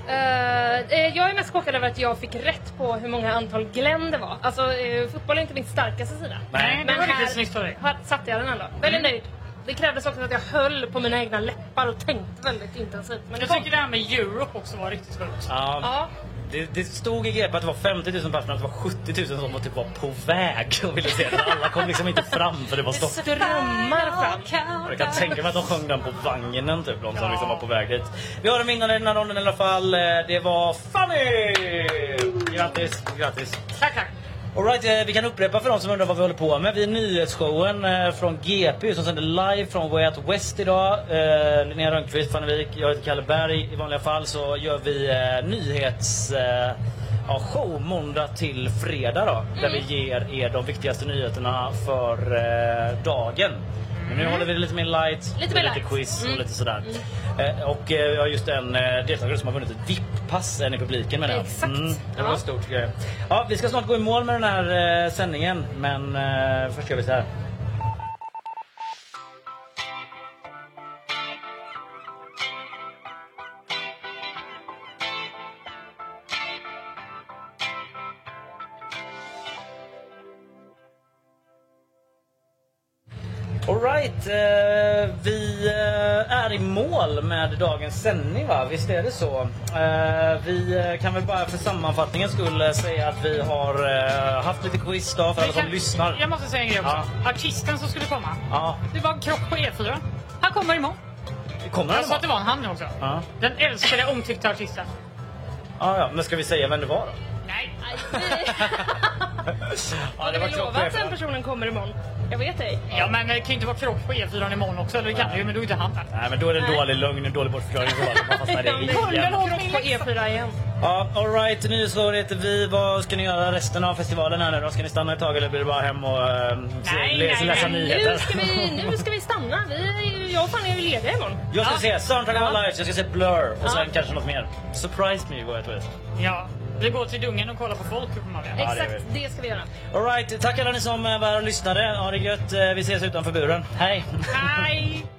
S4: Eh, eh, jag är mest chockad över att jag fick rätt på hur många antal Glenn det var. Alltså, eh, fotboll är inte min starkaste sida.
S3: Nej, det
S4: Men
S3: var
S4: här-
S3: lite snyggt av dig.
S4: Här satte jag den ändå. Väldigt
S3: Mm.
S4: nöjd. Det krävdes också att jag höll på mina egna läppar och tänkte väldigt intensivt. Men det
S3: Jag
S4: kom.
S3: tycker det här med Europe också var riktigt sjukt.
S2: Ja.
S4: Ja.
S2: Det, det stod i GP att det var 50 000 personer, att det var 70 000 som var typ var på väg och ville se den. Alla kom liksom inte fram för det var stopp.
S4: Drömmar fram.
S2: Jag kan tänka mig att de sjöng den på vagnen typ, de som liksom var på väg hit. Vi har en vinnare i den här ronden i alla fall. Eh, Det var Fanny! Grattis, grattis.
S3: Tack, tack.
S2: Alright, eh, vi kan upprepa för de som undrar vad vi håller på med. Vi är nyhetsshowen eh, från GP som sänder live från Way Out West idag. Eh, Linnea Rönnqvist, Fanny Wijk, jag heter Kalle Berg. I vanliga fall så gör vi eh, nyhets... Eh, Ja, show måndag till fredag då,
S4: Mm.
S2: där vi ger er de viktigaste nyheterna för eh, dagen. Men nu håller vi det lite mer light,
S4: Mm. Lite
S2: med
S4: mer
S2: lite
S4: light. Mm.
S2: quiz och lite sådär. Eh, och eh, vi har just en eh, deltagare som har vunnit ett VIP-pass, en i publiken med
S4: Exakt.
S2: Mm, det var
S4: Ja.
S2: stort tycker jag. Ja, vi ska snart gå i mål med den här eh, sändningen, men eh, först gör vi så här. Alright, eh, vi eh, är i mål med dagens sändning va? Visst är det så? Eh, vi eh, kan väl bara för sammanfattningen skulle säga att vi har eh, haft lite quiz då för alla som
S3: Jag-
S2: lyssnar.
S3: Jag måste säga en grej också. Artisten som skulle komma,
S2: Ja,
S3: det var en krock på E4. Han kommer imorgon.
S2: kommer
S3: Jag
S2: den
S3: sa att det
S2: va?
S3: var en han också.
S2: Ja.
S3: Den älskade omtyckta artisten.
S2: Ja, ja, men ska vi säga vem det var då?
S3: Nej.
S2: ja,
S4: Hade vi lovat att den
S2: chefen.
S4: personen kommer imorgon? Jag vet ej.
S3: Ja, men det kan ju inte vara krock på E4 imorgon också. Eller det kan det ju, men då är inte han där.
S2: Nej, men då är det en dålig lögn, en dålig bortförklaring. i så fall. Man fastnar i det igen.
S4: Kollen krock på E4 igen.
S2: Ja, alright. Nyhetsrådet heter vi. Vad ska ni göra resten av festivalen här nu då? Ska ni stanna ett tag eller blir det bara hem och eh, se,
S3: Nej,
S2: lä-
S3: nej,
S2: läsa
S3: nej.
S2: nyheter?
S4: Nu ska vi, nu ska vi stanna. Vi, är ju- jag och Fanny är ju lediga imorgon.
S2: Jag ska se Soundtrack of Our
S4: Ja.
S2: Lives, jag ska se Blur och sen
S4: Ja.
S2: kanske något mer. Surprise me går jag till.
S3: Ja, vi går till Dungen och kollar på folk uppenbarligen.
S2: Ja, det är
S4: Exakt, det ska vi göra.
S2: Alright, tack alla ni som eh, var här och lyssnade. Ha det gött. Eh, Vi ses utanför buren. Hej!
S3: Nej.